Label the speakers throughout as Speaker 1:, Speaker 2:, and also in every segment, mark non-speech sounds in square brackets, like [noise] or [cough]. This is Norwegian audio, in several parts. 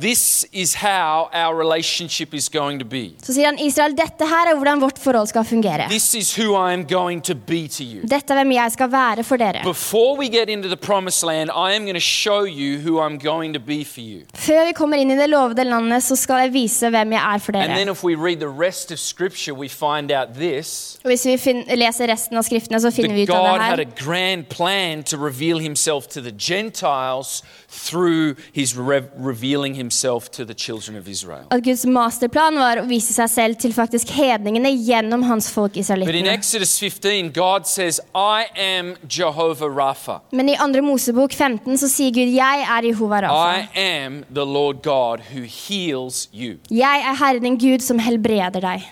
Speaker 1: this is how our relationship is going to be.
Speaker 2: Så sier han Israel, dette her er hvordan vårt forhold skal fungere.
Speaker 1: This is who I am going to be to you.
Speaker 2: Dette er hvem jeg skal være for dere.
Speaker 1: Before we get into the promised land, I am going to show you who I'm going to be for you.
Speaker 2: Før vi kommer inn i det lovede landet, så skal jeg vise hvem jeg er for
Speaker 1: And then
Speaker 2: dere.
Speaker 1: if we read the rest of scripture, we find out this.
Speaker 2: Og hvis vi fin leser resten av skriftene, så finner vi
Speaker 1: that
Speaker 2: ut av
Speaker 1: God
Speaker 2: det
Speaker 1: had
Speaker 2: her.
Speaker 1: a grand plan to reveal himself to the Gentiles through his re- revealing himself to the children of Israel.
Speaker 2: At Guds masterplan var å vise seg selv til faktisk hedningene gjennom hans folk
Speaker 1: But in
Speaker 2: israelittene.
Speaker 1: Exodus 15, God says, I am Jehovah Rapha.
Speaker 2: Men i andre Mosebok 15 så sier Gud, jeg er Jehova Rafa.
Speaker 1: I am the Lord God who heals you.
Speaker 2: Jeg er Herren din Gud som helbreder deg.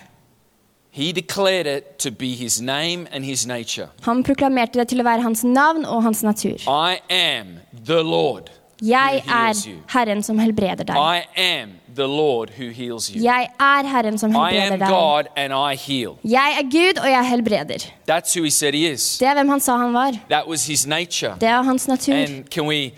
Speaker 1: He declared it to be his name and his nature.
Speaker 2: Han proklamerte det til å være hans navn og hans natur.
Speaker 1: I am the Lord.
Speaker 2: Jeg
Speaker 1: who
Speaker 2: er
Speaker 1: heals you.
Speaker 2: Herren som helbreder deg.
Speaker 1: I am the Lord who heals you.
Speaker 2: Jeg er Herren som
Speaker 1: I am
Speaker 2: helbreder deg.
Speaker 1: God and I heal.
Speaker 2: Jeg er Gud, og jeg helbreder.
Speaker 1: That's who he said he is.
Speaker 2: Det er hvem han sa han var.
Speaker 1: That was his nature.
Speaker 2: Det er hans natur.
Speaker 1: And can we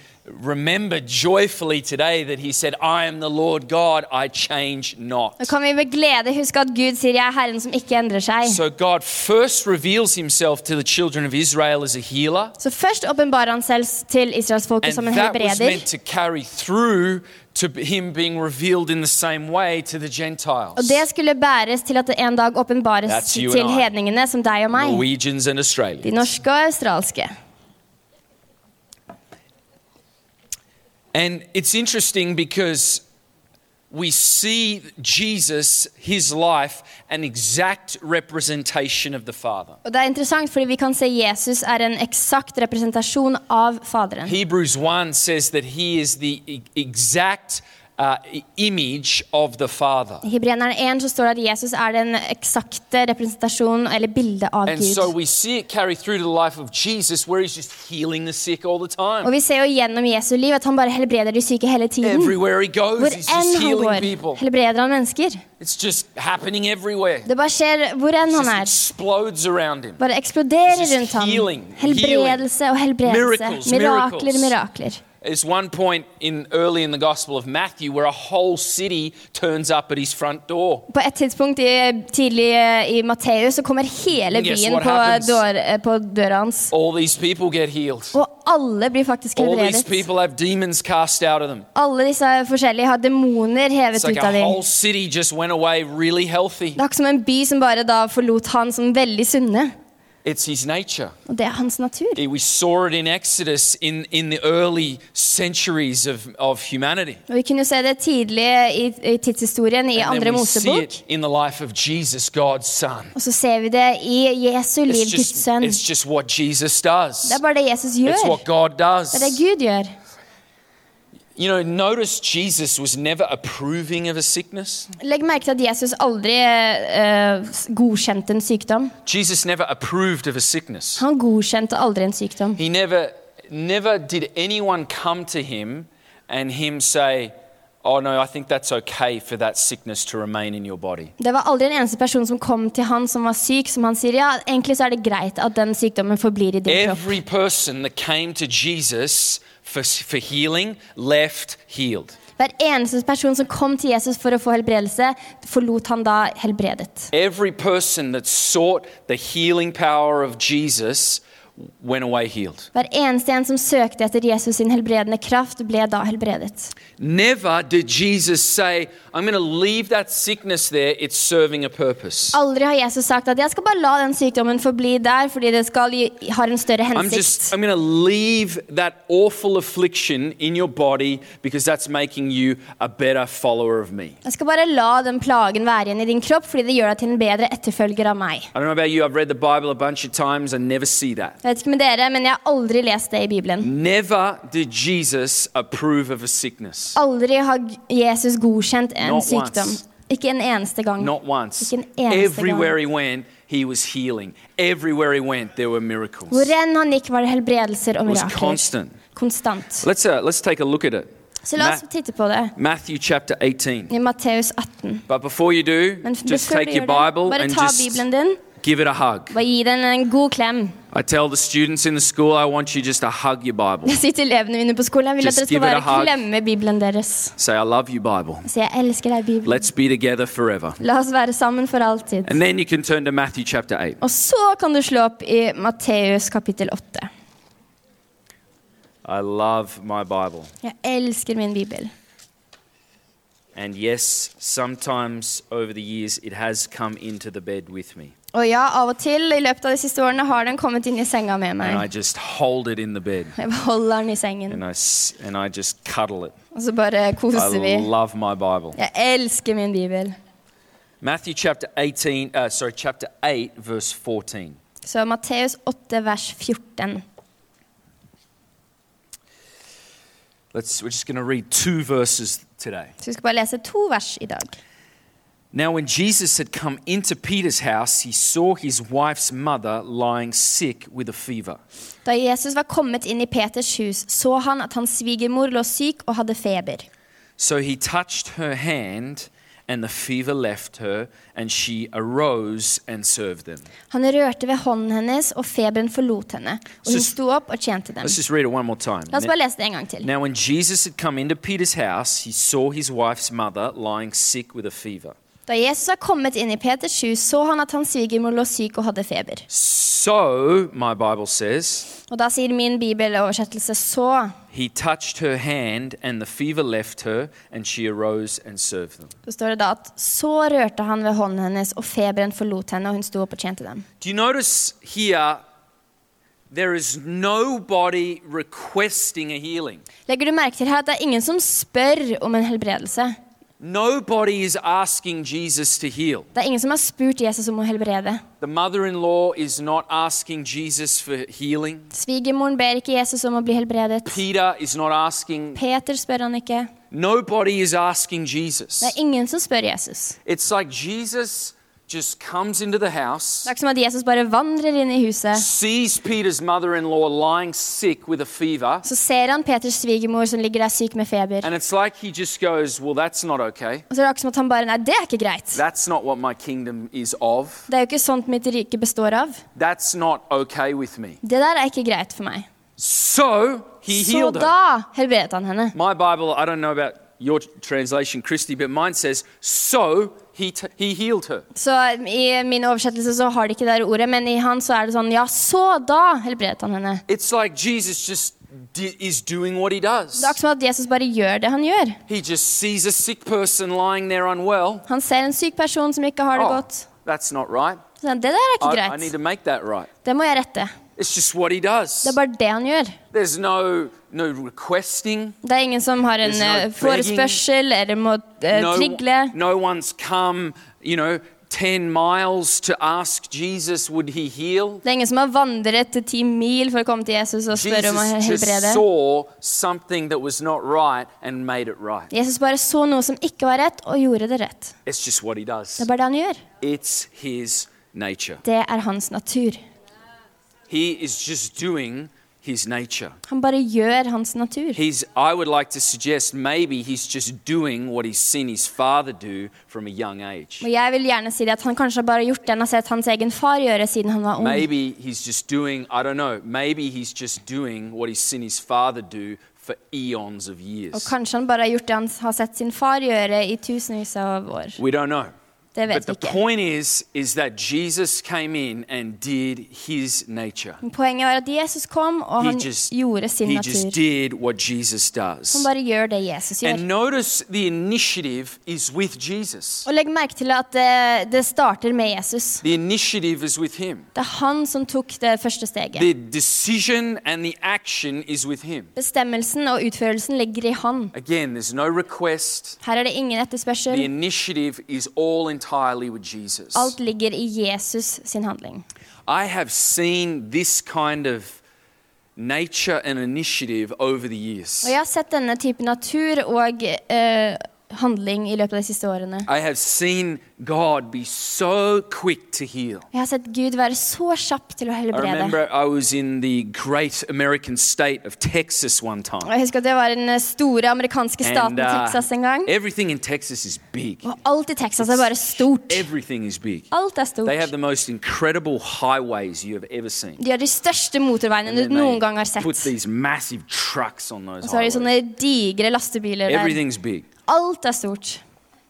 Speaker 1: remember joyfully today that he said, I am the Lord God, I change not.
Speaker 2: Nå kan vi med glede huske at Gud sier 'Jeg er Herren som ikke endrer seg'.
Speaker 1: So God first reveals himself to the children of Israel as a healer.
Speaker 2: Så først åpenbarer han selv til israelsfolket
Speaker 1: And
Speaker 2: som en
Speaker 1: that was meant
Speaker 2: helbreder.
Speaker 1: to carry through to him being revealed in the same way to the Gentiles.
Speaker 2: Og det er skulle bæres til at det en dag åpenbares
Speaker 1: That's you
Speaker 2: til
Speaker 1: and I.
Speaker 2: hedningene, som deg og meg.
Speaker 1: Norwegians and
Speaker 2: De
Speaker 1: Australians.
Speaker 2: norske og australske.
Speaker 1: And it's interesting because we see Jesus, his life, an exact representation of the Father.
Speaker 2: Og det er interessant, fordi vi kan se Jesus er en eksakt representasjon av Faderen.
Speaker 1: Hebrews 1 says that he is the e- exact uh, i- image of the Father.
Speaker 2: I Hebreerne 1 så står det at Jesus er den eksakte representasjonen eller bildet av
Speaker 1: And
Speaker 2: Gud.
Speaker 1: so we see it carry through to the life of Jesus where he's just healing the sick all the
Speaker 2: og
Speaker 1: time.
Speaker 2: vi ser jo gjennom Jesu liv at han bare helbreder de syke hele tiden.
Speaker 1: Everywhere he
Speaker 2: Hvor
Speaker 1: goes, he's
Speaker 2: enn
Speaker 1: just
Speaker 2: han
Speaker 1: healing
Speaker 2: går,
Speaker 1: people.
Speaker 2: helbreder han mennesker.
Speaker 1: It's just happening everywhere.
Speaker 2: Det bare skjer hvor enn
Speaker 1: It
Speaker 2: han
Speaker 1: just
Speaker 2: er.
Speaker 1: explodes around him.
Speaker 2: Bare eksploderer
Speaker 1: It's just
Speaker 2: rundt ham.
Speaker 1: healing,
Speaker 2: Helbredelse og
Speaker 1: Miracles,
Speaker 2: helbredelse. Mirakler,
Speaker 1: miracles.
Speaker 2: mirakler.
Speaker 1: There's one point in early in the Gospel of Matthew where a whole city turns up at his front door.
Speaker 2: På et tidspunkt i, tidlig eh, i Matteus så kommer hele
Speaker 1: And guess
Speaker 2: byen
Speaker 1: what
Speaker 2: på,
Speaker 1: happens?
Speaker 2: dør, eh, på døra hans.
Speaker 1: All these people get healed.
Speaker 2: Og alle blir faktisk
Speaker 1: All these
Speaker 2: helbredet.
Speaker 1: people have demons cast out of them.
Speaker 2: Alle disse forskjellige har demoner
Speaker 1: It's
Speaker 2: hevet
Speaker 1: like
Speaker 2: ut av
Speaker 1: a
Speaker 2: dem.
Speaker 1: whole city just went away really healthy.
Speaker 2: Det er ikke som en by som bare da forlot han som veldig sunne.
Speaker 1: It's his nature.
Speaker 2: Og det er hans natur.
Speaker 1: It- We saw it in Exodus in, in the early centuries of, of humanity.
Speaker 2: Og Vi kunne jo se det tidlig i, i tidshistorien i
Speaker 1: And
Speaker 2: andre
Speaker 1: then we see
Speaker 2: Mosebok.
Speaker 1: it in the life of Jesus, God's Son.
Speaker 2: Og så ser vi det i Jesu liv,
Speaker 1: It's
Speaker 2: Guds
Speaker 1: just,
Speaker 2: sønn.
Speaker 1: it's just what Jesus does.
Speaker 2: Det er bare det Jesus gjør.
Speaker 1: It's what
Speaker 2: Det
Speaker 1: God
Speaker 2: er det
Speaker 1: does.
Speaker 2: Gud gjør.
Speaker 1: You know, notice Jesus was never approving of a sickness.
Speaker 2: Legg merke til at Jesus aldri eh, s- godkjente en sykdom.
Speaker 1: Jesus never approved of a sickness.
Speaker 2: Han godkjente aldri en sykdom.
Speaker 1: He never, never did anyone come to him and him say, Oh, no, I think that's okay for that sickness to remain in your body.
Speaker 2: Det var aldri en eneste person som kom til han som var syk, som han sier ja, egentlig så er det greit at den sykdommen forblir i din kropp.
Speaker 1: Every person that came to Jesus for, for healing left healed.
Speaker 2: Hver eneste person som kom til Jesus for å få helbredelse, forlot han da helbredet.
Speaker 1: Every person that sought the healing power of Jesus went away healed.
Speaker 2: Hver eneste en som søkte etter Jesus sin helbredende kraft, ble da helbredet.
Speaker 1: Never did Jesus say, I'm going to leave that sickness there, it's serving a purpose.
Speaker 2: Aldri har Jesus sagt at 'jeg skal bare la den sykdommen forbli der', fordi det skal gi- har en større
Speaker 1: I'm
Speaker 2: hensikt.
Speaker 1: just I'm going to leave that awful affliction in your body because that's making you a better follower of me.
Speaker 2: Jeg skal bare la den plagen være igjen i din kropp, fordi det gjør deg til en bedre etterfølger av meg.
Speaker 1: I don't know about you, I've read the Bible a bunch of times I never see that.
Speaker 2: Jeg vet ikke med dere, men jeg har aldri lest det i Bibelen.
Speaker 1: Never did Jesus approve of a sickness.
Speaker 2: Aldri har G- Jesus godkjent en
Speaker 1: Not
Speaker 2: sykdom.
Speaker 1: once.
Speaker 2: Ikke en eneste gang.
Speaker 1: Not once.
Speaker 2: Ikke en eneste
Speaker 1: Everywhere he went, he was healing. Everywhere he went, there were miracles.
Speaker 2: Hvor
Speaker 1: It
Speaker 2: enn han gikk, var det helbredelser og
Speaker 1: was
Speaker 2: mirakler.
Speaker 1: constant.
Speaker 2: Konstant.
Speaker 1: Let's, uh, let's take a look at it.
Speaker 2: Så la oss
Speaker 1: Ma-
Speaker 2: titte på det
Speaker 1: Matthew chapter 18.
Speaker 2: i Matteus 18.
Speaker 1: But before you do,
Speaker 2: Men f-
Speaker 1: just
Speaker 2: før
Speaker 1: take
Speaker 2: du
Speaker 1: your
Speaker 2: gjør det,
Speaker 1: Bible
Speaker 2: bare
Speaker 1: and
Speaker 2: ta
Speaker 1: just
Speaker 2: Bibelen din
Speaker 1: Give it a hug.
Speaker 2: Bare gi den en god klem.
Speaker 1: I tell the students in the school, I want you just to hug your Bible.
Speaker 2: [laughs]
Speaker 1: [laughs]
Speaker 2: Jeg sier til elevene mine på skolen jeg vil
Speaker 1: Just
Speaker 2: at dere
Speaker 1: give
Speaker 2: skal
Speaker 1: it a
Speaker 2: bare
Speaker 1: hug.
Speaker 2: klemme Bibelen deres.
Speaker 1: Say, I love you, Bible.
Speaker 2: Så jeg elsker deg, Bibelen.
Speaker 1: Let's be together forever.
Speaker 2: La oss være sammen for alltid.
Speaker 1: And then you can turn to Matthew chapter 8.
Speaker 2: Og så kan du slå opp i Matteus kapittel 8.
Speaker 1: I love my Bible.
Speaker 2: Jeg elsker min bibel.
Speaker 1: And yes, sometimes over the years it has come into the bed with me.
Speaker 2: Og ja, av og til i løpet av de siste årene har den kommet inn i senga med
Speaker 1: And I
Speaker 2: meg.
Speaker 1: just hold it in the bed
Speaker 2: Jeg bare holder den i sengen,
Speaker 1: and I, s- and I just cuddle it.
Speaker 2: og så bare
Speaker 1: I
Speaker 2: koser vi.
Speaker 1: love my Bible.
Speaker 2: Jeg elsker min bibel.
Speaker 1: Matthew chapter 18, uh, sorry, chapter 8, verse 14.
Speaker 2: Så Matteus 8, vers 14.
Speaker 1: Let's, we're just going to read two verses today.
Speaker 2: Så vi skal bare lese to vers i dag.
Speaker 1: Now, when Jesus had come into Peter's house, he saw his wife's mother lying sick with a fever.
Speaker 2: Da Jesus var kommet inn i Peters hus, så han at hans svigermor lå syk og hadde feber.
Speaker 1: So he touched her hand, and the fever left her, and she arose and served them.
Speaker 2: Han rørte ved hånden hennes, og feberen forlot henne. Og hun
Speaker 1: Så-
Speaker 2: sto opp og tjente dem.
Speaker 1: Let's just read it one more time.
Speaker 2: La oss bare lese det en gang til.
Speaker 1: Now, when Jesus had come into Peter's house, he saw his wife's mother lying sick with a fever.
Speaker 2: Da Jesus var kommet inn i Peters hus, så han at hans svigermor lå syk og hadde feber.
Speaker 1: So, my Bible says,
Speaker 2: Og da sier min bibeloversettelse så.
Speaker 1: he touched her hand, and the fever left her, and she arose and served them.
Speaker 2: Så står det da at så rørte han ved hånden hennes, og feberen forlot henne, og hun sto opp og tjente dem.
Speaker 1: Do you notice here there is nobody requesting a healing?
Speaker 2: Legger du merke til her at det er ingen som spør om en helbredelse?
Speaker 1: Nobody is asking Jesus to heal.
Speaker 2: Det er ingen som har spurt Jesus om å helbrede.
Speaker 1: The mother in law is not asking Jesus for healing.
Speaker 2: Svigermoren ber ikke Jesus om å bli helbredet.
Speaker 1: Peter is not asking.
Speaker 2: Peter spør han ikke.
Speaker 1: Nobody is asking Jesus.
Speaker 2: Det er ingen som spør Jesus.
Speaker 1: It's like Jesus just comes into the house,
Speaker 2: Det er ikke som at Jesus bare vandrer inn i huset.
Speaker 1: sees Peter's mother in law lying sick with a fever,
Speaker 2: Så ser han Peters svigermor som ligger der syk med feber.
Speaker 1: and it's like he just goes, Well, that's not okay.
Speaker 2: Og så er det akkurat som at han bare Nei, det er ikke greit.
Speaker 1: That's not what my kingdom is of.
Speaker 2: Det er jo ikke sånt mitt rike består av.
Speaker 1: That's not okay with me.
Speaker 2: Det der er ikke greit for meg.
Speaker 1: So he
Speaker 2: Så
Speaker 1: healed her.
Speaker 2: da helbredet han henne.
Speaker 1: My Bible, I don't know about your translation, Christy, but mine says, so he, t- he healed her.
Speaker 2: Så i min oversettelse så har de ikke det der ordet, men i han så er det sånn Ja, så da helbredet han henne.
Speaker 1: It's like Jesus just di- is doing what he does.
Speaker 2: Det er akkurat som at Jesus bare gjør det han gjør.
Speaker 1: He just sees a sick person lying there unwell.
Speaker 2: Han ser en syk person som ikke har det
Speaker 1: Oh,
Speaker 2: godt.
Speaker 1: that's not right.
Speaker 2: Så han, det der er ikke
Speaker 1: I, I need
Speaker 2: greit.
Speaker 1: to make that right.
Speaker 2: Det må jeg rette.
Speaker 1: It's just what he
Speaker 2: Det
Speaker 1: does.
Speaker 2: er bare det han gjør.
Speaker 1: There's no, no requesting.
Speaker 2: Det er ingen som har en
Speaker 1: There's no
Speaker 2: eh, forespørsel eller må eh, trigle.
Speaker 1: No, no one's come, you know, 10 miles to ask Jesus, would he heal?
Speaker 2: Det er ingen som har vandret ti mil for å komme til Jesus og spørre om å
Speaker 1: Jesus
Speaker 2: helbrede.
Speaker 1: just saw something that was not right and made it right.
Speaker 2: Jesus bare så noe som ikke var rett, og gjorde det rett.
Speaker 1: It's just what he does.
Speaker 2: Det er bare det han gjør.
Speaker 1: It's his nature.
Speaker 2: Det er hans natur.
Speaker 1: He is just doing his nature.
Speaker 2: Han bare gjør hans natur.
Speaker 1: He's I would like to suggest maybe he's just doing what he's seen his father do from a young age.
Speaker 2: Og jeg vil gjerne si det at han kanskje har bare gjort det han har sett hans egen far gjøre siden han var ung.
Speaker 1: Maybe he's just doing, I don't know, maybe he's just doing what he's seen his father do for eons of
Speaker 2: Og
Speaker 1: years.
Speaker 2: kanskje han bare har gjort det han har sett sin far gjøre i tusenvis av år.
Speaker 1: We don't know.
Speaker 2: Det
Speaker 1: But
Speaker 2: vet
Speaker 1: the
Speaker 2: vi ikke.
Speaker 1: point is is that Jesus came in and did his nature.
Speaker 2: Men Poenget var at Jesus kom, og
Speaker 1: He
Speaker 2: han
Speaker 1: just,
Speaker 2: gjorde sin
Speaker 1: he just
Speaker 2: natur.
Speaker 1: did what Jesus
Speaker 2: Han
Speaker 1: does.
Speaker 2: bare gjør det Jesus gjør.
Speaker 1: And notice the initiative is with Jesus.
Speaker 2: Og legg merke til at det, det starter med Jesus.
Speaker 1: The initiative is with him.
Speaker 2: Det er han som tok det første steget.
Speaker 1: The decision and the action is with him.
Speaker 2: Bestemmelsen og utførelsen ligger i han.
Speaker 1: Again, there's no request.
Speaker 2: Her er det ingen
Speaker 1: The
Speaker 2: etterspørsel.
Speaker 1: initiative is all entirely with Jesus.
Speaker 2: Alt ligger i Jesus sin handling.
Speaker 1: I have seen this kind of nature and initiative over the years.
Speaker 2: Oh, Og jeg har sett denne type natur og eh, handling i løpet av de siste årene.
Speaker 1: I have seen God be so quick to heal.
Speaker 2: Jeg har sett Gud være så kjapp til å
Speaker 1: I
Speaker 2: helbrede.
Speaker 1: remember I was in the great American state of Texas one time.
Speaker 2: Og jeg husker at jeg var i den store amerikanske staten
Speaker 1: uh,
Speaker 2: Texas Oh, en gang.
Speaker 1: everything in Texas is big.
Speaker 2: Og alt i Texas er bare stort.
Speaker 1: Everything is big.
Speaker 2: Alt er
Speaker 1: They have
Speaker 2: stort.
Speaker 1: the most incredible highways you have ever seen.
Speaker 2: De har de største motorveiene
Speaker 1: And
Speaker 2: du
Speaker 1: then
Speaker 2: noen
Speaker 1: they
Speaker 2: gang har sett.
Speaker 1: put
Speaker 2: Og
Speaker 1: these massive trucks on those
Speaker 2: så har de sånne
Speaker 1: highways.
Speaker 2: digre lastebiler der.
Speaker 1: Everything's big.
Speaker 2: Alt er stort.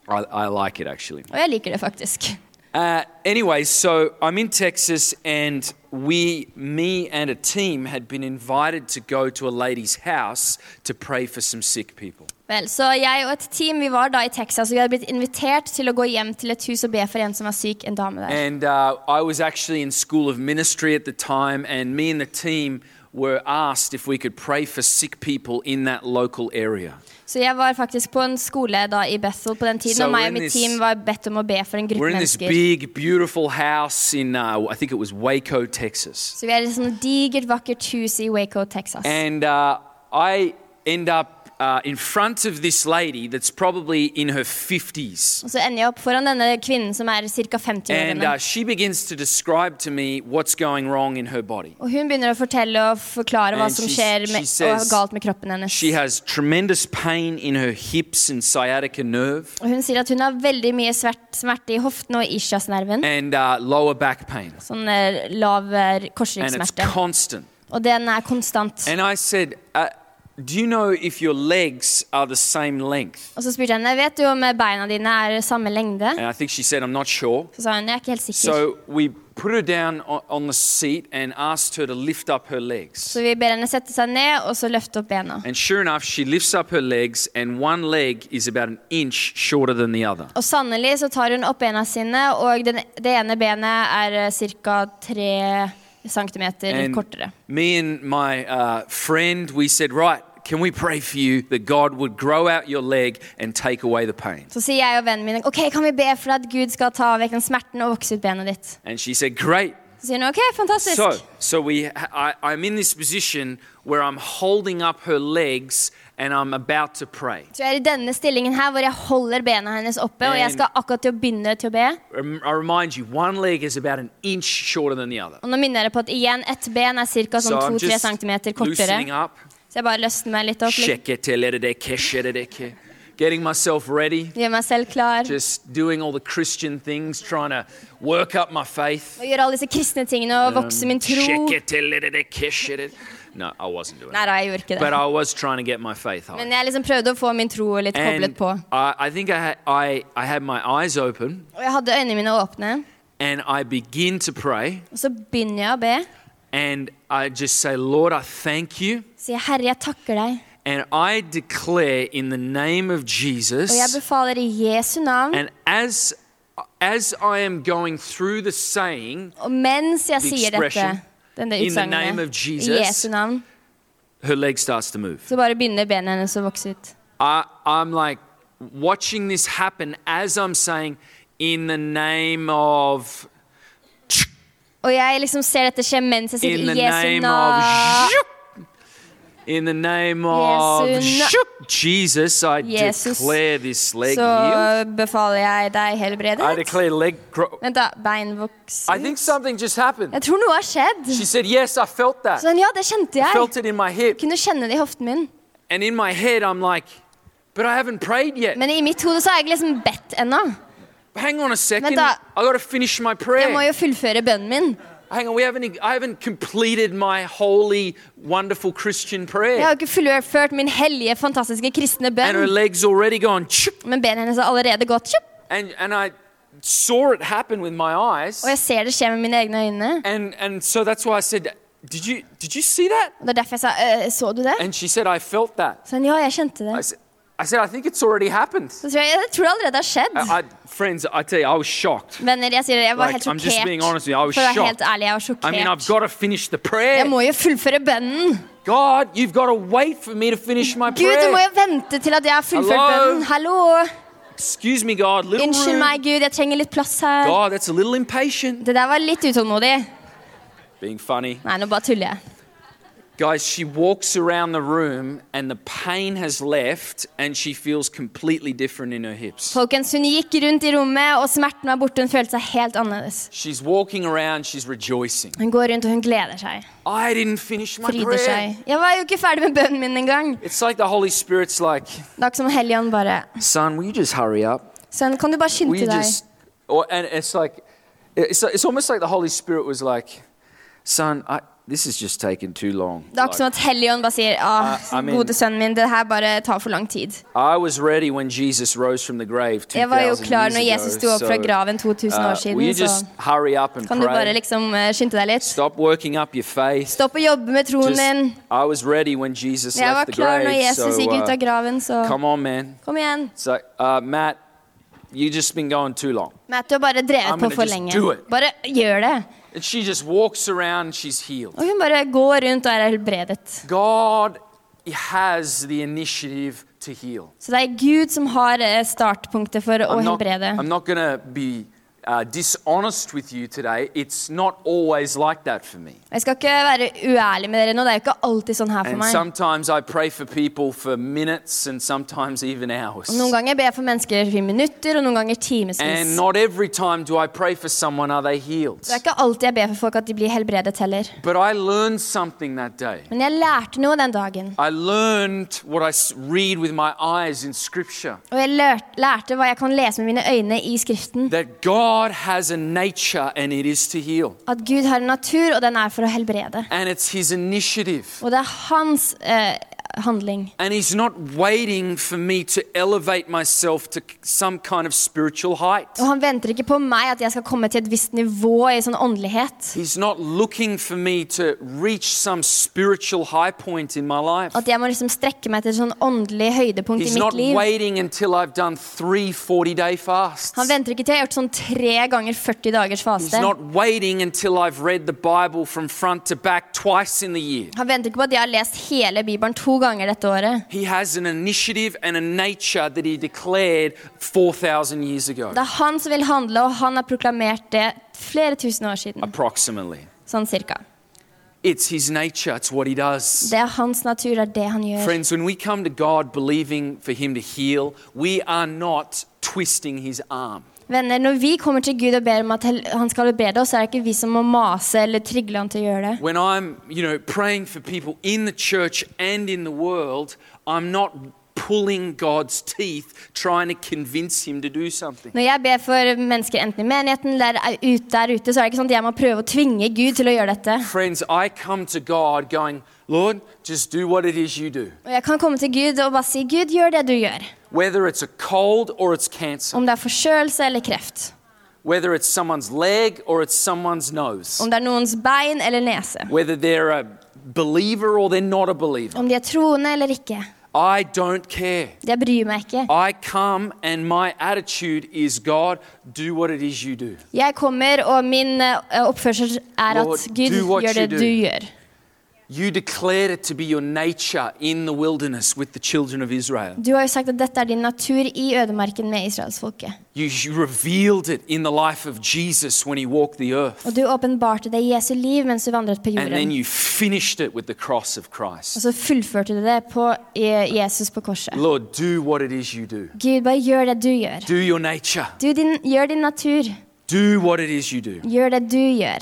Speaker 1: I, I like it actually.
Speaker 2: Og jeg liker det faktisk.
Speaker 1: Uh, anyway, so I'm in Texas, and we, me and a team, had been invited to go to a lady's house to pray for some sick people.
Speaker 2: Vel, så jeg og et team vi var da i Texas, og vi hadde blitt invitert til å gå hjem til et hus og be for en som var syk, en dame der.
Speaker 1: And uh, I was actually in school of ministry at the time, and me and the team were asked if we could pray for sick people in that local area.
Speaker 2: Så jeg var faktisk på en skole da i Bethel på den tiden,
Speaker 1: So
Speaker 2: og meg
Speaker 1: we're
Speaker 2: og
Speaker 1: in
Speaker 2: mitt
Speaker 1: this-
Speaker 2: team var bedt om å be for en
Speaker 1: We're
Speaker 2: gruppe
Speaker 1: in this
Speaker 2: mennesker.
Speaker 1: big, beautiful house in, uh, I think it was Waco, Texas.
Speaker 2: Så vi er i et sånt digert, vakkert hus i Waco, Texas.
Speaker 1: And uh, I end up uh, in front of this lady that's probably in her 50s.
Speaker 2: Og så ender jeg opp foran denne kvinnen som er ca. 50 år
Speaker 1: And uh,
Speaker 2: gammel.
Speaker 1: she begins to describe to me what's going wrong in her body.
Speaker 2: Og hun begynner å fortelle og forklare hva
Speaker 1: And
Speaker 2: som
Speaker 1: she-
Speaker 2: skjer
Speaker 1: she
Speaker 2: med, og
Speaker 1: says-
Speaker 2: er galt med kroppen hennes.
Speaker 1: She has tremendous pain in her hips and sciatica nerve
Speaker 2: Og hun sier at hun har veldig mye svert, smerte i hoften og ischiasnerven.
Speaker 1: and uh, lower back pain.
Speaker 2: Sånn eh, lav eh,
Speaker 1: And it's
Speaker 2: korsryggsmerte.
Speaker 1: constant.
Speaker 2: Og den er konstant.
Speaker 1: And I said, uh, Do you know if your legs are the same length?
Speaker 2: Og så spurte jeg henne vet du om eh, beina dine er samme lengde.
Speaker 1: And I think she said, I'm not sure.
Speaker 2: Så sa hun jeg er ikke helt sikker.
Speaker 1: So we put her down o- on the seat and asked her to lift up her legs.
Speaker 2: Så vi ber henne sette seg ned og så løfte opp bena.
Speaker 1: And sure enough, she lifts up her legs, and one leg is about an inch shorter than the other.
Speaker 2: Og sannelig så tar hun opp bena sine, og den, det ene benet er eh, ca. 3 cm
Speaker 1: And
Speaker 2: kortere.
Speaker 1: me and my uh, friend, we said, right, can we pray for you that God would grow out your leg and take away the pain?
Speaker 2: Så sier jeg og vennen min ok, kan vi be for at Gud skal ta vekk den smerten og vokse ut benet ditt.
Speaker 1: And she said, great.
Speaker 2: Så sier hun ok, fantastisk.
Speaker 1: So, so we, I, I'm in this position where I'm holding up her legs and I'm about to pray.
Speaker 2: Så jeg er i denne stillingen her hvor jeg holder bena hennes oppe, og jeg skal akkurat til å begynne til å be.
Speaker 1: Rem- I remind you, one leg is about an inch shorter than the other.
Speaker 2: Og nå minner jeg deg på at igjen, ett ben er ca.
Speaker 1: So
Speaker 2: sånn
Speaker 1: I'm
Speaker 2: 2-3
Speaker 1: just
Speaker 2: cm kortere.
Speaker 1: loosening up,
Speaker 2: Så jeg bare løsner meg litt opp. Litt.
Speaker 1: sheketeledeke, shekedeke, getting myself ready,
Speaker 2: Gjør meg selv klar.
Speaker 1: just doing all the Christian things, trying to work up my faith.
Speaker 2: Og gjør alle disse kristne tingene og vokse min tro.
Speaker 1: Shake
Speaker 2: Nei
Speaker 1: Um, it, till it, it, it, kiss it, it. [laughs] No, I wasn't doing
Speaker 2: da,
Speaker 1: that.
Speaker 2: jeg gjorde ikke
Speaker 1: But
Speaker 2: det.
Speaker 1: I was trying to get my faith high.
Speaker 2: Men jeg liksom prøvde å få min tro litt koblet
Speaker 1: And
Speaker 2: på.
Speaker 1: I, I think I, had- I, I had my eyes open
Speaker 2: Og jeg hadde øynene mine åpne.
Speaker 1: and I begin to pray
Speaker 2: Og så begynner jeg å be.
Speaker 1: and I just say, Lord, I thank you.
Speaker 2: Sier Herre, jeg takker deg.
Speaker 1: And I declare in the name of
Speaker 2: Og jeg
Speaker 1: Jesus.
Speaker 2: befaler i Jesu navn.
Speaker 1: And as, as I am going through the saying,
Speaker 2: Og mens jeg
Speaker 1: The
Speaker 2: sier dette,
Speaker 1: expression,
Speaker 2: denne
Speaker 1: in the name of
Speaker 2: utsagnet, i
Speaker 1: Jesus.
Speaker 2: Jesu navn,
Speaker 1: her leg starts to move.
Speaker 2: så bare begynner bena hennes å vokse ut.
Speaker 1: I, I'm like watching this happen as I'm saying, in the name of,
Speaker 2: Og jeg liksom ser dette skje mens jeg
Speaker 1: in the
Speaker 2: sier i Jesu
Speaker 1: name
Speaker 2: navn.
Speaker 1: of, in the name of
Speaker 2: Jesu na-
Speaker 1: Jesus, I
Speaker 2: Jesus.
Speaker 1: declare this leg
Speaker 2: Så
Speaker 1: healed.
Speaker 2: befaler jeg deg
Speaker 1: I
Speaker 2: helbredet.
Speaker 1: declare leg grow.
Speaker 2: Vent, da. Bein vokser
Speaker 1: I think something just happened.
Speaker 2: Jeg tror noe har skjedd.
Speaker 1: She said, Yes, I felt that.
Speaker 2: Så den, ja, det kjente
Speaker 1: I
Speaker 2: jeg.
Speaker 1: felt it in my hip.
Speaker 2: Kunne kjenne det i hoften min.
Speaker 1: And in my head, I'm like, But I haven't prayed yet.
Speaker 2: Men i mitt hode så har jeg ikke liksom bedt ennå.
Speaker 1: Hang on a second.
Speaker 2: Vänta.
Speaker 1: I got to finish my
Speaker 2: Jeg må
Speaker 1: prayer.
Speaker 2: jo fullføre bønnen min.
Speaker 1: Hang on, we haven't. e- I haven't completed my holy, wonderful Christian
Speaker 2: Jeg har
Speaker 1: prayer.
Speaker 2: jo ikke fullført min hellige, fantastiske kristne
Speaker 1: And her
Speaker 2: bønn.
Speaker 1: legs already gone. chup,
Speaker 2: Men bena hennes har allerede gått. Tjup.
Speaker 1: And and I saw it happen with my eyes.
Speaker 2: Og jeg ser det skje med mine egne øyne.
Speaker 1: And and so that's why I said, did you did you see that?
Speaker 2: Og det er derfor jeg sa «Øh, Så du det?
Speaker 1: And she said, I felt that.
Speaker 2: Så han, ja, jeg kjente det.
Speaker 1: I said, I said, I think it's already happened.
Speaker 2: Så sier jeg jeg tror det allerede har skjedd.
Speaker 1: I, I- friends, I tell you, I was shocked.
Speaker 2: Venner, jeg sier det. Jeg var
Speaker 1: Like,
Speaker 2: helt
Speaker 1: I'm just being
Speaker 2: sjokkert.
Speaker 1: honest with you, I was
Speaker 2: For å være
Speaker 1: shocked.
Speaker 2: helt ærlig, jeg var
Speaker 1: I mean, I've
Speaker 2: sjokkert.
Speaker 1: got to finish the prayer.
Speaker 2: Jeg må jo fullføre bønnen.
Speaker 1: God, you've got to wait for me to finish my
Speaker 2: Gud, du må
Speaker 1: prayer.
Speaker 2: jo vente til at jeg har fullført
Speaker 1: Hallo?
Speaker 2: bønnen. Hallo!
Speaker 1: Excuse me, God. Little
Speaker 2: Unnskyld
Speaker 1: room.
Speaker 2: meg, Gud. Jeg trenger litt plass her.
Speaker 1: God, that's a little impatient.
Speaker 2: Det der var litt utålmodig.
Speaker 1: Being funny.
Speaker 2: Nei, nå bare tuller jeg.
Speaker 1: Guys, she walks around the room and the pain has left and she feels completely different in her hips.
Speaker 2: Folkens, Hun gikk rundt i rommet, og smerten var borte. Hun følte seg helt annerledes.
Speaker 1: She's walking around, she's rejoicing.
Speaker 2: Hun går rundt og hun gleder seg.
Speaker 1: I didn't finish my
Speaker 2: Fryder
Speaker 1: prayer.
Speaker 2: seg. Jeg var jo ikke ferdig med bønnen min engang.
Speaker 1: It's like the Holy Spirit's like,
Speaker 2: Det er ikke som Helligånd bare
Speaker 1: son, will you just hurry up?
Speaker 2: Sønn, kan du bare
Speaker 1: Will
Speaker 2: skynde
Speaker 1: you
Speaker 2: deg?
Speaker 1: just. Or, and it's like, it's, it's almost like the Holy Spirit was like, son, I, this is just taking too long.
Speaker 2: Det er ikke som at Helligånd bare sier ah,
Speaker 1: I- I mean-
Speaker 2: gode sønnen min, det her bare tar for lang tid.
Speaker 1: I was ready when Jesus rose from the grave 2000
Speaker 2: Jeg var jo klar
Speaker 1: years
Speaker 2: når Jesus sto
Speaker 1: ago,
Speaker 2: opp fra
Speaker 1: so,
Speaker 2: graven 2000
Speaker 1: uh,
Speaker 2: år siden,
Speaker 1: will you
Speaker 2: så
Speaker 1: just hurry up and
Speaker 2: kan du bare
Speaker 1: pray?
Speaker 2: liksom eh, skynde deg litt.
Speaker 1: Stop working up your faith.
Speaker 2: Stopp å jobbe med troen din.
Speaker 1: Just, I was ready when Jesus
Speaker 2: Jeg
Speaker 1: left
Speaker 2: var
Speaker 1: the
Speaker 2: klar når
Speaker 1: grave.
Speaker 2: Jesus
Speaker 1: So,
Speaker 2: gikk ut
Speaker 1: uh,
Speaker 2: av graven, så
Speaker 1: come on, man.
Speaker 2: kom igjen.
Speaker 1: It's like, uh, Matt, you just been going too long.
Speaker 2: Matt, du har bare
Speaker 1: I'm
Speaker 2: drevet på
Speaker 1: gonna
Speaker 2: for
Speaker 1: just
Speaker 2: lenge.
Speaker 1: do it.
Speaker 2: Bare gjør det.
Speaker 1: And she just walks around. and She's healed.
Speaker 2: Og hun bare går rundt og er helbredet.
Speaker 1: God has the initiative to heal.
Speaker 2: Så det er Gud som har eh, startpunktet for å
Speaker 1: I'm not,
Speaker 2: helbrede.
Speaker 1: I'm not going to be uh, dishonest with you today. It's not always like that for me.
Speaker 2: Jeg skal ikke være uærlig med dere nå, det er jo ikke alltid sånn her for
Speaker 1: And
Speaker 2: meg.
Speaker 1: sometimes I pray for people for minutes and sometimes even hours.
Speaker 2: Og Noen ganger ber jeg for mennesker i minutter, og noen ganger timevis.
Speaker 1: And not every time do I pray for someone are they healed.
Speaker 2: Det er ikke alltid jeg ber for folk at de blir helbredet heller.
Speaker 1: But I learned something that day.
Speaker 2: Men jeg lærte noe den dagen.
Speaker 1: I learned what I s- read with my eyes in Scripture
Speaker 2: Og jeg lær- lærte hva jeg kan lese med mine øyne i Skriften.
Speaker 1: that God has a nature and it is to heal.
Speaker 2: At Gud har en natur, og den er for å helbrede.
Speaker 1: And it's His initiative.
Speaker 2: Og det er hans eh, handling.
Speaker 1: And He's not waiting for me to elevate myself to c- some kind of spiritual height.
Speaker 2: Og han venter ikke på meg at jeg skal komme til et visst nivå i sånn åndelighet.
Speaker 1: He's not looking for me to reach some spiritual high point in my life.
Speaker 2: At jeg må liksom strekke meg til et sånn åndelig høydepunkt i
Speaker 1: He's not
Speaker 2: mitt liv.
Speaker 1: waiting until I've done three 40 day fasts.
Speaker 2: Han venter ikke til jeg har gjort sånn tre ganger 40 dagers
Speaker 1: He's
Speaker 2: faste.
Speaker 1: not waiting until I've read the Bible from front to back twice in the year.
Speaker 2: Han venter ikke på at jeg har lest hele Bibelen to ganger dette året.
Speaker 1: He has an initiative and a nature that he declared 4,000 years ago,
Speaker 2: Det er han som vil handle, og han har proklamert det flere tusen år siden.
Speaker 1: approximately.
Speaker 2: Sånn cirka.
Speaker 1: It's his nature, it's what he does.
Speaker 2: Det er hans natur, det er det han gjør.
Speaker 1: Friends, when we come to God believing for him to heal, we are not twisting his arm.
Speaker 2: Venner, Når vi kommer til Gud og ber om at hel- han skal helbrede oss, så er det ikke vi som må mase eller trygle han til å gjøre det.
Speaker 1: When I'm, you know, praying for people in the church and in the world, I'm not pulling God's teeth trying to convince him to do something.
Speaker 2: Når jeg ber for mennesker enten i menigheten eller er ute der ute, så er det ikke sånn at jeg må prøve å tvinge Gud til å gjøre dette.
Speaker 1: Friends, I come to God going, Lord, just do what it is you do.
Speaker 2: Og jeg kan komme til Gud og bare si, Gud, gjør det du gjør.
Speaker 1: Whether it's a cold or it's cancer,
Speaker 2: Om det er forkjølelse eller kreft.
Speaker 1: whether it's someone's leg or it's someone's nose,
Speaker 2: Om det er noens bein eller nese.
Speaker 1: whether they're a believer or they're not a believer.
Speaker 2: Om de er troende eller ikke.
Speaker 1: I don't care.
Speaker 2: Det bryr meg ikke.
Speaker 1: I come and my attitude is, God, do what it is you do.
Speaker 2: Jeg kommer, og min eh, oppførsel er
Speaker 1: Lord,
Speaker 2: at Gud
Speaker 1: do what
Speaker 2: gjør det
Speaker 1: you do.
Speaker 2: du gjør.
Speaker 1: You declared it to be your nature in the wilderness with the children of Israel.
Speaker 2: Du har jo sagt at dette er din natur i ødemarken med israelsfolket.
Speaker 1: You, you revealed it in the life of Jesus when he walked the earth.
Speaker 2: Og du åpenbarte det i Jesu liv mens du vandret på
Speaker 1: And then
Speaker 2: jorden.
Speaker 1: you finished it with the cross of
Speaker 2: Og
Speaker 1: Christ.
Speaker 2: så fullførte du det på eh, Jesus på korset.
Speaker 1: Lord, do what it is you do.
Speaker 2: Gud, bare gjør det du gjør.
Speaker 1: Do your nature.
Speaker 2: Du din, gjør din natur.
Speaker 1: Do what it is you do.
Speaker 2: Gjør det du gjør.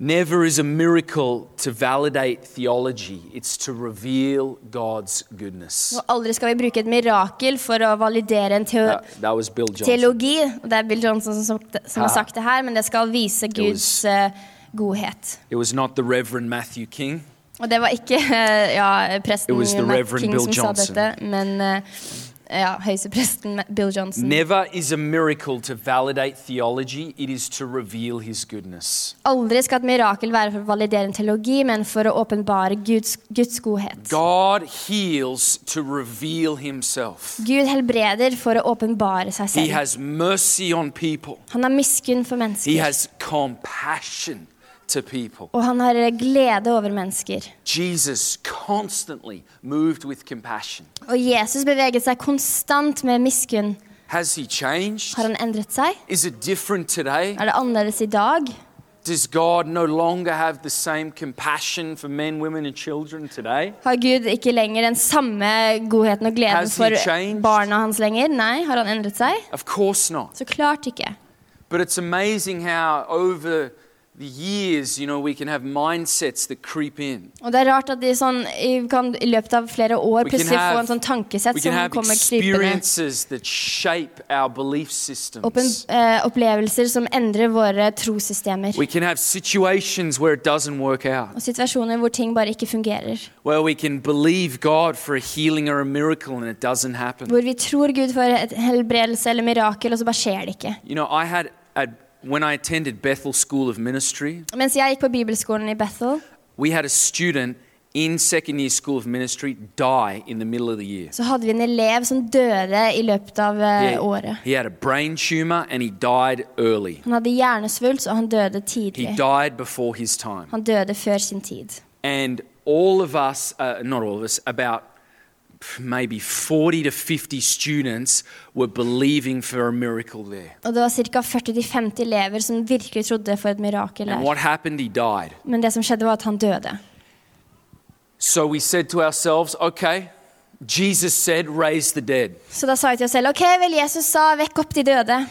Speaker 1: Never is a miracle to validate theology, it's to reveal God's goodness.
Speaker 2: Og aldri skal vi bruke et mirakel for å validere en teo
Speaker 1: That, that was Bill Johnson.
Speaker 2: teologi. Og det er Bill Johnson som, som har sagt det her, men det skal vise Guds eh, godhet.
Speaker 1: It was not the Reverend Matthew King.
Speaker 2: Og det var ikke [laughs] eh, ja, presten
Speaker 1: It was the
Speaker 2: Matt
Speaker 1: Reverend
Speaker 2: King
Speaker 1: Bill
Speaker 2: som
Speaker 1: Johnson.
Speaker 2: sa dette, men eh, ja, høyestepresten Ma- Bill Johnson.
Speaker 1: Never is a miracle to validate theology, it is to reveal his goodness.
Speaker 2: Aldri skal et mirakel være for å validere en teologi, men for å åpenbare Guds, Guds godhet.
Speaker 1: God heals to reveal himself.
Speaker 2: Gud helbreder for å åpenbare seg
Speaker 1: He
Speaker 2: selv.
Speaker 1: has mercy on people,
Speaker 2: Han har miskunn for
Speaker 1: he
Speaker 2: mennesker,
Speaker 1: has compassion to people.
Speaker 2: og han har eh, glede over mennesker.
Speaker 1: Jesus constantly moved with compassion.
Speaker 2: Og Jesus beveget seg konstant med miskunn.
Speaker 1: Has he changed?
Speaker 2: Har han endret seg?
Speaker 1: Is it different today?
Speaker 2: Er det annerledes i dag?
Speaker 1: Does God no longer have the same compassion for men, women, and children today?
Speaker 2: Har Gud ikke lenger den samme godheten og gleden
Speaker 1: Has he
Speaker 2: for
Speaker 1: changed?
Speaker 2: barna hans lenger? Nei, har han endret seg?
Speaker 1: Of course not.
Speaker 2: Så klart ikke.
Speaker 1: But it's amazing how over the years, you know, we can have mindsets that creep in.
Speaker 2: Og det er rart at de sånn, i- kan i løpet av flere år
Speaker 1: We can
Speaker 2: plutselig få
Speaker 1: have-
Speaker 2: en sånn tankesett
Speaker 1: We can
Speaker 2: som
Speaker 1: have
Speaker 2: kommer krypende.
Speaker 1: experiences that shape our belief
Speaker 2: Oppen,
Speaker 1: systems.
Speaker 2: eh, opplevelser som endrer våre trossystemer.
Speaker 1: We can have situations where it doesn't work out,
Speaker 2: Og situasjoner hvor ting bare ikke fungerer.
Speaker 1: where we can believe God for a healing or a miracle and it doesn't happen.
Speaker 2: Hvor vi tror Gud for et helbredelse eller mirakel, og så bare skjer det ikke.
Speaker 1: You know, I had, at, when I attended Bethel School of Ministry,
Speaker 2: Mens jeg gikk på bibelskolen i Bethel,
Speaker 1: we had a student in second year School of Ministry die in the middle of the year.
Speaker 2: så hadde vi en elev som døde i løpet av eh,
Speaker 1: Uh,
Speaker 2: året.
Speaker 1: he had a brain tumor and he died early.
Speaker 2: Han hadde hjernesvulst, og han døde
Speaker 1: He
Speaker 2: tidlig.
Speaker 1: died before his time.
Speaker 2: Han døde før sin tid.
Speaker 1: And all of us, uh, not all of us, about maybe 40 to 50 students were believing for a miracle there.
Speaker 2: Og det var ca. 40-50 elever som virkelig trodde for et mirakel
Speaker 1: And
Speaker 2: der.
Speaker 1: what happened? He died.
Speaker 2: Men det som skjedde, var at han døde.
Speaker 1: So we said to ourselves, okay, Jesus said, raise the dead.
Speaker 2: Så da sa vi til oss selv OK, vel, Jesus sa 'vekk opp de døde'.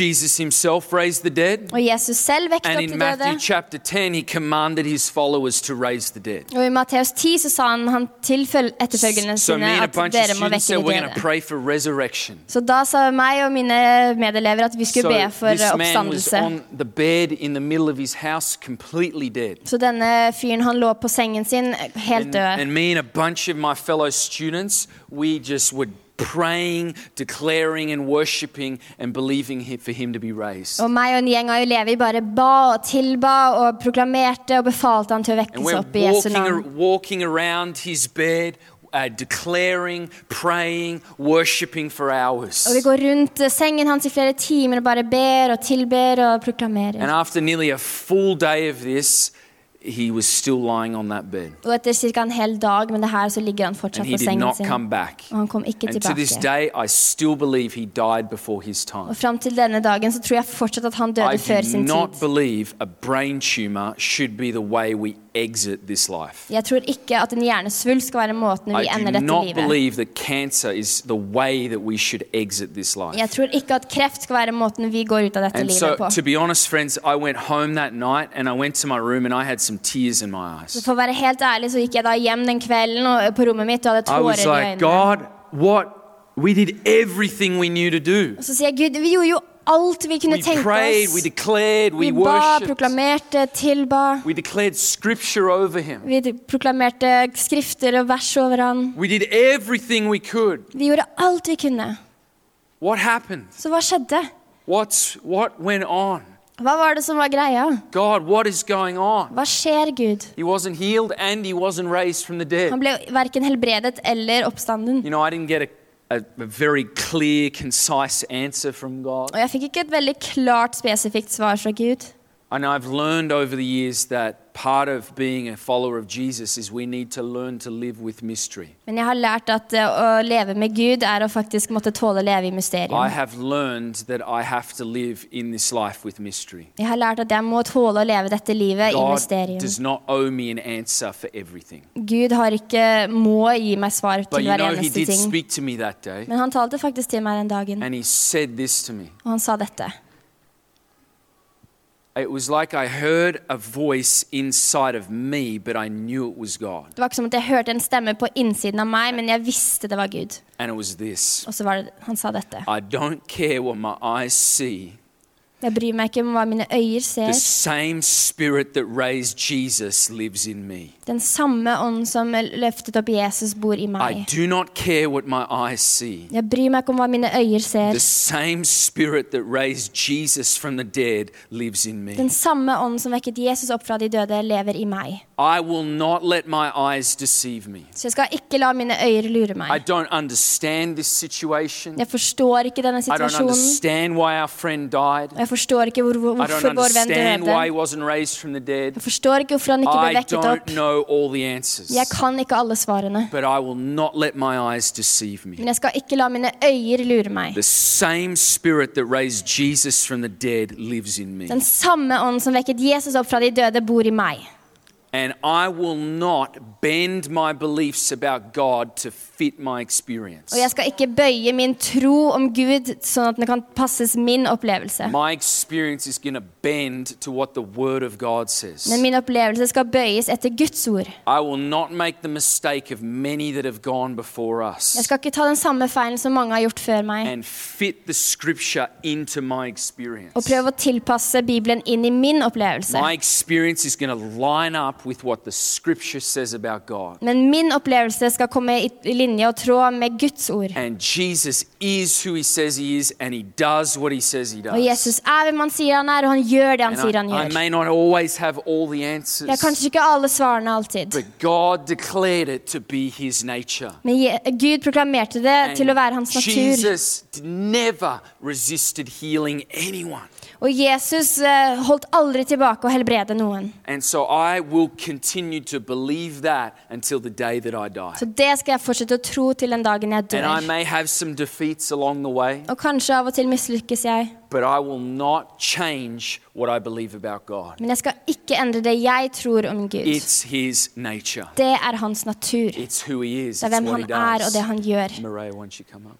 Speaker 1: Jesus himself raised the dead.
Speaker 2: Og Jesus selv vekket
Speaker 1: And
Speaker 2: opp de
Speaker 1: in
Speaker 2: døde.
Speaker 1: Matthew chapter 10, he commanded his followers to raise the dead.
Speaker 2: Og i Matteus 10 så sa han, han til føl- etterfølgerne
Speaker 1: So
Speaker 2: sine
Speaker 1: me and a
Speaker 2: at
Speaker 1: bunch of
Speaker 2: dere må
Speaker 1: students
Speaker 2: vekke
Speaker 1: said
Speaker 2: de
Speaker 1: we're going to
Speaker 2: døde.
Speaker 1: pray for resurrection.
Speaker 2: Så da sa meg og mine medelever at vi
Speaker 1: So
Speaker 2: skulle be for eh,
Speaker 1: this man was
Speaker 2: oppstandelse.
Speaker 1: on the bed in the middle of his house, completely dead.
Speaker 2: Så denne fyren han lå på sengen sin eh, helt
Speaker 1: And,
Speaker 2: død.
Speaker 1: and me and a bunch of my fellow students, we just were praying, declaring, and worshiping, and believing hi- for him to be raised.
Speaker 2: Og meg og en gjeng av elever bare ba og tilba og proklamerte og befalte han til å
Speaker 1: And
Speaker 2: vekkes
Speaker 1: we're
Speaker 2: opp i Jesu
Speaker 1: walking, ar-
Speaker 2: navn.
Speaker 1: walking around his bed, uh, declaring, praying, worshiping for hours.
Speaker 2: Og vi går rundt eh, sengen hans i flere timer og bare ber og tilber og
Speaker 1: And
Speaker 2: proklamerer.
Speaker 1: after nearly a full day of this, he was still lying on that bed.
Speaker 2: Og etter ca. en hel dag med det her så ligger han
Speaker 1: And
Speaker 2: fortsatt
Speaker 1: he
Speaker 2: på
Speaker 1: did
Speaker 2: sengen
Speaker 1: not
Speaker 2: sin.
Speaker 1: come back.
Speaker 2: Og han kom ikke
Speaker 1: And to this
Speaker 2: tilbake.
Speaker 1: day, I still believe he died before his time.
Speaker 2: Og fram til denne dagen så tror jeg fortsatt at han døde
Speaker 1: I
Speaker 2: før
Speaker 1: do
Speaker 2: sin
Speaker 1: not
Speaker 2: tid.
Speaker 1: believe a brain tumor should be the way we exit this life.
Speaker 2: Jeg tror ikke at en hjernesvulst skal være måten vi
Speaker 1: I
Speaker 2: ender
Speaker 1: do
Speaker 2: dette
Speaker 1: not
Speaker 2: livet.
Speaker 1: believe that cancer is the way that we should exit this
Speaker 2: Jeg
Speaker 1: life.
Speaker 2: tror ikke at kreft skal være måten vi går ut av dette
Speaker 1: And so,
Speaker 2: livet på.
Speaker 1: to be honest, friends, I went home that night and I went to my room and I had some tears in my
Speaker 2: Så
Speaker 1: eyes.
Speaker 2: for å være helt ærlig så gikk jeg da hjem den kvelden og, på rommet mitt og hadde
Speaker 1: I
Speaker 2: tårer
Speaker 1: was
Speaker 2: i
Speaker 1: like,
Speaker 2: øynene.
Speaker 1: God, what? We did everything we knew to do.
Speaker 2: Og så sier jeg Gud, vi gjorde jo alt vi kunne
Speaker 1: We
Speaker 2: tenke
Speaker 1: prayed, we
Speaker 2: oss.
Speaker 1: declared,
Speaker 2: Vi
Speaker 1: we
Speaker 2: ba,
Speaker 1: worshiped.
Speaker 2: proklamerte, tilba.
Speaker 1: We declared scripture over him.
Speaker 2: Vi proklamerte skrifter og vers over han.
Speaker 1: We did everything we could.
Speaker 2: Vi gjorde alt vi kunne.
Speaker 1: What happened?
Speaker 2: Så hva skjedde?
Speaker 1: What's what went on?
Speaker 2: Hva var det som var greia?
Speaker 1: God, what is going on?
Speaker 2: Hva skjer, Gud?
Speaker 1: He wasn't healed and he wasn't raised from the dead.
Speaker 2: Han ble verken helbredet eller oppstanden.
Speaker 1: You know, I didn't get a, a, a very clear, concise answer from God.
Speaker 2: Og jeg fikk ikke et veldig klart, spesifikt svar fra Gud.
Speaker 1: And I've learned over the years that part of being a follower of Jesus is we need to learn to live with mystery.
Speaker 2: Men jeg har lært at eh, å leve med Gud er å faktisk måtte tåle å leve i
Speaker 1: I
Speaker 2: mysterium.
Speaker 1: have learned that I have to live in this life with mystery.
Speaker 2: Jeg har lært at jeg må tåle å leve dette livet i
Speaker 1: God
Speaker 2: mysterium.
Speaker 1: does not owe me an answer for everything.
Speaker 2: Gud har ikke må gi meg svar
Speaker 1: But
Speaker 2: til
Speaker 1: you
Speaker 2: hver
Speaker 1: know, He
Speaker 2: eneste
Speaker 1: did
Speaker 2: ting.
Speaker 1: speak to me that day,
Speaker 2: Men han talte faktisk til meg den dagen,
Speaker 1: and He said this to me.
Speaker 2: og han sa dette.
Speaker 1: It was like I heard a voice inside of me, but I knew it was God.
Speaker 2: Det var ikke som at jeg hørte en stemme på innsiden av meg, men jeg visste det var Gud.
Speaker 1: And it was this
Speaker 2: Og så var det, han sa dette.
Speaker 1: I don't care what my eyes see,
Speaker 2: Jeg bryr meg ikke om hva mine øyer
Speaker 1: the
Speaker 2: ser.
Speaker 1: same spirit that raised Jesus lives in me.
Speaker 2: Den samme ånden som løftet opp Jesus, bor i
Speaker 1: I
Speaker 2: meg.
Speaker 1: do not care what my eyes see.
Speaker 2: Jeg bryr meg ikke om hva mine øyer ser.
Speaker 1: The same spirit that raised Jesus from the dead lives in me.
Speaker 2: Den samme ånden som vekket Jesus opp fra de døde, lever i meg.
Speaker 1: I will not let my eyes deceive me.
Speaker 2: Så jeg skal ikke la mine øyer lure
Speaker 1: I
Speaker 2: meg.
Speaker 1: don't understand this situation.
Speaker 2: Jeg forstår ikke denne
Speaker 1: I don't
Speaker 2: situasjonen,
Speaker 1: understand why our friend died.
Speaker 2: og jeg Jeg forstår ikke hvor, hvor,
Speaker 1: I don't
Speaker 2: hvorfor vår venn
Speaker 1: understand why he
Speaker 2: døde.
Speaker 1: wasn't raised from the dead.
Speaker 2: Jeg forstår ikke hvorfor han ikke ble
Speaker 1: I
Speaker 2: vekket
Speaker 1: don't
Speaker 2: opp.
Speaker 1: know all the answers.
Speaker 2: Jeg er kan ikke alle svarene.
Speaker 1: But I will not let my eyes deceive me.
Speaker 2: Men jeg skal ikke la mine øyer lure meg.
Speaker 1: The same spirit that raised Jesus from the dead lives in me.
Speaker 2: Den samme ånd som vekket Jesus opp fra de døde, bor i meg.
Speaker 1: And I will not bend my beliefs about God to fit my experience.
Speaker 2: Og jeg skal ikke bøye min tro om Gud sånn at den kan passes min opplevelse.
Speaker 1: My experience is going to bend to what the Word of God says.
Speaker 2: Men min opplevelse skal bøyes etter Guds ord.
Speaker 1: I will not make the mistake of many that have gone before
Speaker 2: Jeg
Speaker 1: us
Speaker 2: skal ikke ta den samme feilen som mange har gjort før meg,
Speaker 1: and fit the Scripture into my
Speaker 2: og
Speaker 1: experience.
Speaker 2: prøve å tilpasse Bibelen inn i min opplevelse.
Speaker 1: My experience is going to line up with what the Scripture says about God.
Speaker 2: Men min opplevelse skal komme i i linje og tråd med Guds ord.
Speaker 1: And Jesus is who He says He is, and He does what He says He
Speaker 2: Og
Speaker 1: does.
Speaker 2: Jesus er hvem han sier han er, og han gjør det han
Speaker 1: And
Speaker 2: sier
Speaker 1: I,
Speaker 2: han
Speaker 1: I
Speaker 2: gjør.
Speaker 1: may not always have all the
Speaker 2: Jeg har
Speaker 1: answers.
Speaker 2: kanskje ikke alle svarene alltid,
Speaker 1: But God declared it to be his nature.
Speaker 2: men Je- Gud proklamerte det til å være hans natur.
Speaker 1: Jesus never resisted healing anyone.
Speaker 2: Og Jesus eh, holdt aldri tilbake å helbrede noen.
Speaker 1: And so I will continue to believe that until the day that I die.
Speaker 2: Så det skal jeg fortsette å tro til den dagen jeg
Speaker 1: And I
Speaker 2: dør.
Speaker 1: may have some defeats along the way,
Speaker 2: Og kanskje av og til mislykkes jeg,
Speaker 1: but I will not change what I believe about God.
Speaker 2: men jeg skal ikke endre det jeg tror om Gud.
Speaker 1: It's his nature,
Speaker 2: Det er hans natur.
Speaker 1: it's who he is,
Speaker 2: Det er
Speaker 1: it's
Speaker 2: hvem
Speaker 1: what he
Speaker 2: han er, og
Speaker 1: does.
Speaker 2: det han gjør.
Speaker 1: Maria, why don't you come up?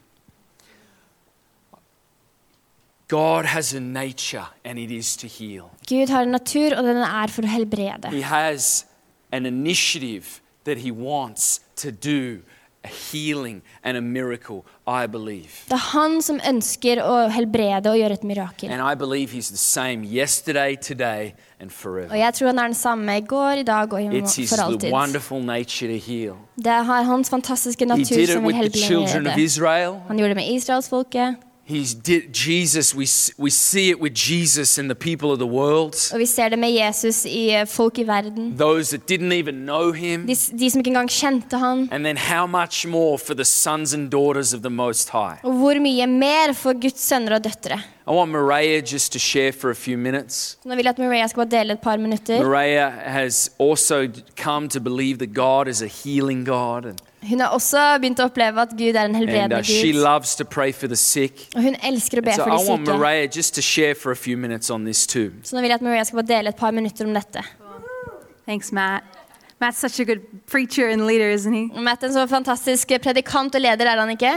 Speaker 1: God has a nature, and it is to heal.
Speaker 2: Gud har en natur, og den er for å helbrede.
Speaker 1: He has an initiative that he wants to do a healing and a miracle, I believe.
Speaker 2: Det er han som ønsker å helbrede og gjøre et mirakel.
Speaker 1: And I believe he's the same yesterday, today, and
Speaker 2: Og
Speaker 1: forever.
Speaker 2: jeg tror han er den samme i går, i dag og i
Speaker 1: It's
Speaker 2: morgen
Speaker 1: his
Speaker 2: for
Speaker 1: the
Speaker 2: alltid.
Speaker 1: wonderful nature to heal.
Speaker 2: Det er hans fantastiske
Speaker 1: He
Speaker 2: natur
Speaker 1: did it
Speaker 2: som vil
Speaker 1: with the children
Speaker 2: helbrede.
Speaker 1: of Israel.
Speaker 2: Han gjorde det med israelsfolket,
Speaker 1: He's did Jesus. We, s- we see it with Jesus and the people of the world.
Speaker 2: og vi ser det med Jesus i eh, folk i verden.
Speaker 1: Those that didn't even know him.
Speaker 2: De, s- de som ikke engang kjente han.
Speaker 1: And then how much more for the sons and daughters of the Most High.
Speaker 2: Og hvor mye mer for Guds sønner og døtre.
Speaker 1: I want Maria just to share for a few minutes.
Speaker 2: Så nå vil jeg at Maria skal bare dele et par minutter.
Speaker 1: Maria has also come to believe that God is a healing God, and,
Speaker 2: Hun har også begynt å oppleve at Gud er en
Speaker 1: and uh,
Speaker 2: helbredende
Speaker 1: she
Speaker 2: Gud.
Speaker 1: loves to pray for the sick.
Speaker 2: Og hun elsker å
Speaker 1: And
Speaker 2: be
Speaker 1: so
Speaker 2: for
Speaker 1: I
Speaker 2: de
Speaker 1: want
Speaker 2: syke.
Speaker 1: Maria just to share for a few minutes on this too.
Speaker 2: Så nå vil jeg at Maria skal bare dele et par minutter om dette.
Speaker 3: Thanks, Matt. Matt's such a good preacher and leader, isn't he?
Speaker 2: Og Matt er en så fantastisk predikant og leder, er han ikke?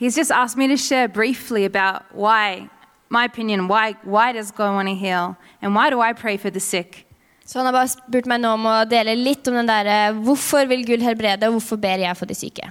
Speaker 3: He's just asked me to share briefly about why, my opinion, why, why does God want to heal? And why do I pray for the sick?
Speaker 2: Så han har bare spurt meg nå om å dele litt om den derre Hvorfor vil Gud helbrede, og hvorfor ber jeg for de syke?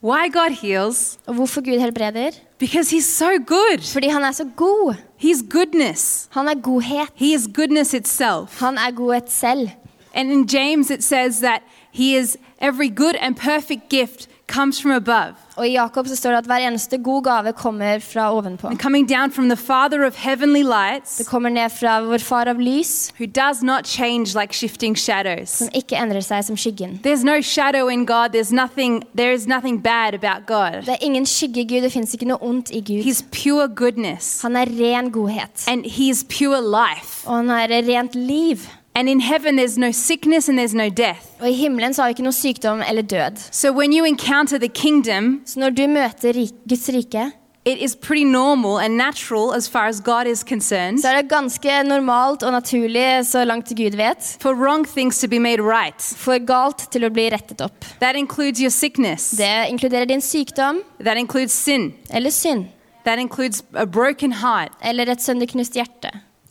Speaker 3: Why God heals?
Speaker 2: Og hvorfor Gud helbreder?
Speaker 3: Because he's so good.
Speaker 2: Fordi han er så god.
Speaker 3: He's goodness.
Speaker 2: Han er godhet.
Speaker 3: He is goodness itself.
Speaker 2: Han er godhet selv.
Speaker 3: And in James, it says that he is every good and perfect gift comes from above
Speaker 2: Og i Jakob så står det at hver eneste god gave kommer fra ovenpå.
Speaker 3: and coming down from the Father of heavenly
Speaker 2: Det
Speaker 3: lights,
Speaker 2: kommer ned fra vår far av lys,
Speaker 3: who does not change like shifting shadows.
Speaker 2: som ikke endrer seg som skyggen.
Speaker 3: There's no shadow in God. There's nothing, there is nothing bad about God.
Speaker 2: Det er ingen skyggegud, det fins ikke noe ondt i Gud.
Speaker 3: He's pure goodness
Speaker 2: Han er ren godhet.
Speaker 3: and he is pure life.
Speaker 2: Og han er rent liv.
Speaker 3: And in heaven, there's no sickness and there's no death.
Speaker 2: Og i himmelen så har vi ikke noe sykdom eller død.
Speaker 3: So when you encounter the kingdom,
Speaker 2: Så når du møter rik Guds rike,
Speaker 3: it is pretty normal and natural as far as God is concerned
Speaker 2: så er det ganske normalt og naturlig, så langt Gud vet,
Speaker 3: for wrong things to be made right.
Speaker 2: for galt til å bli rettet opp.
Speaker 3: That includes your sickness,
Speaker 2: Det inkluderer din sykdom
Speaker 3: that includes sin,
Speaker 2: eller synd
Speaker 3: that includes a broken heart.
Speaker 2: eller et sønderknust hjerte.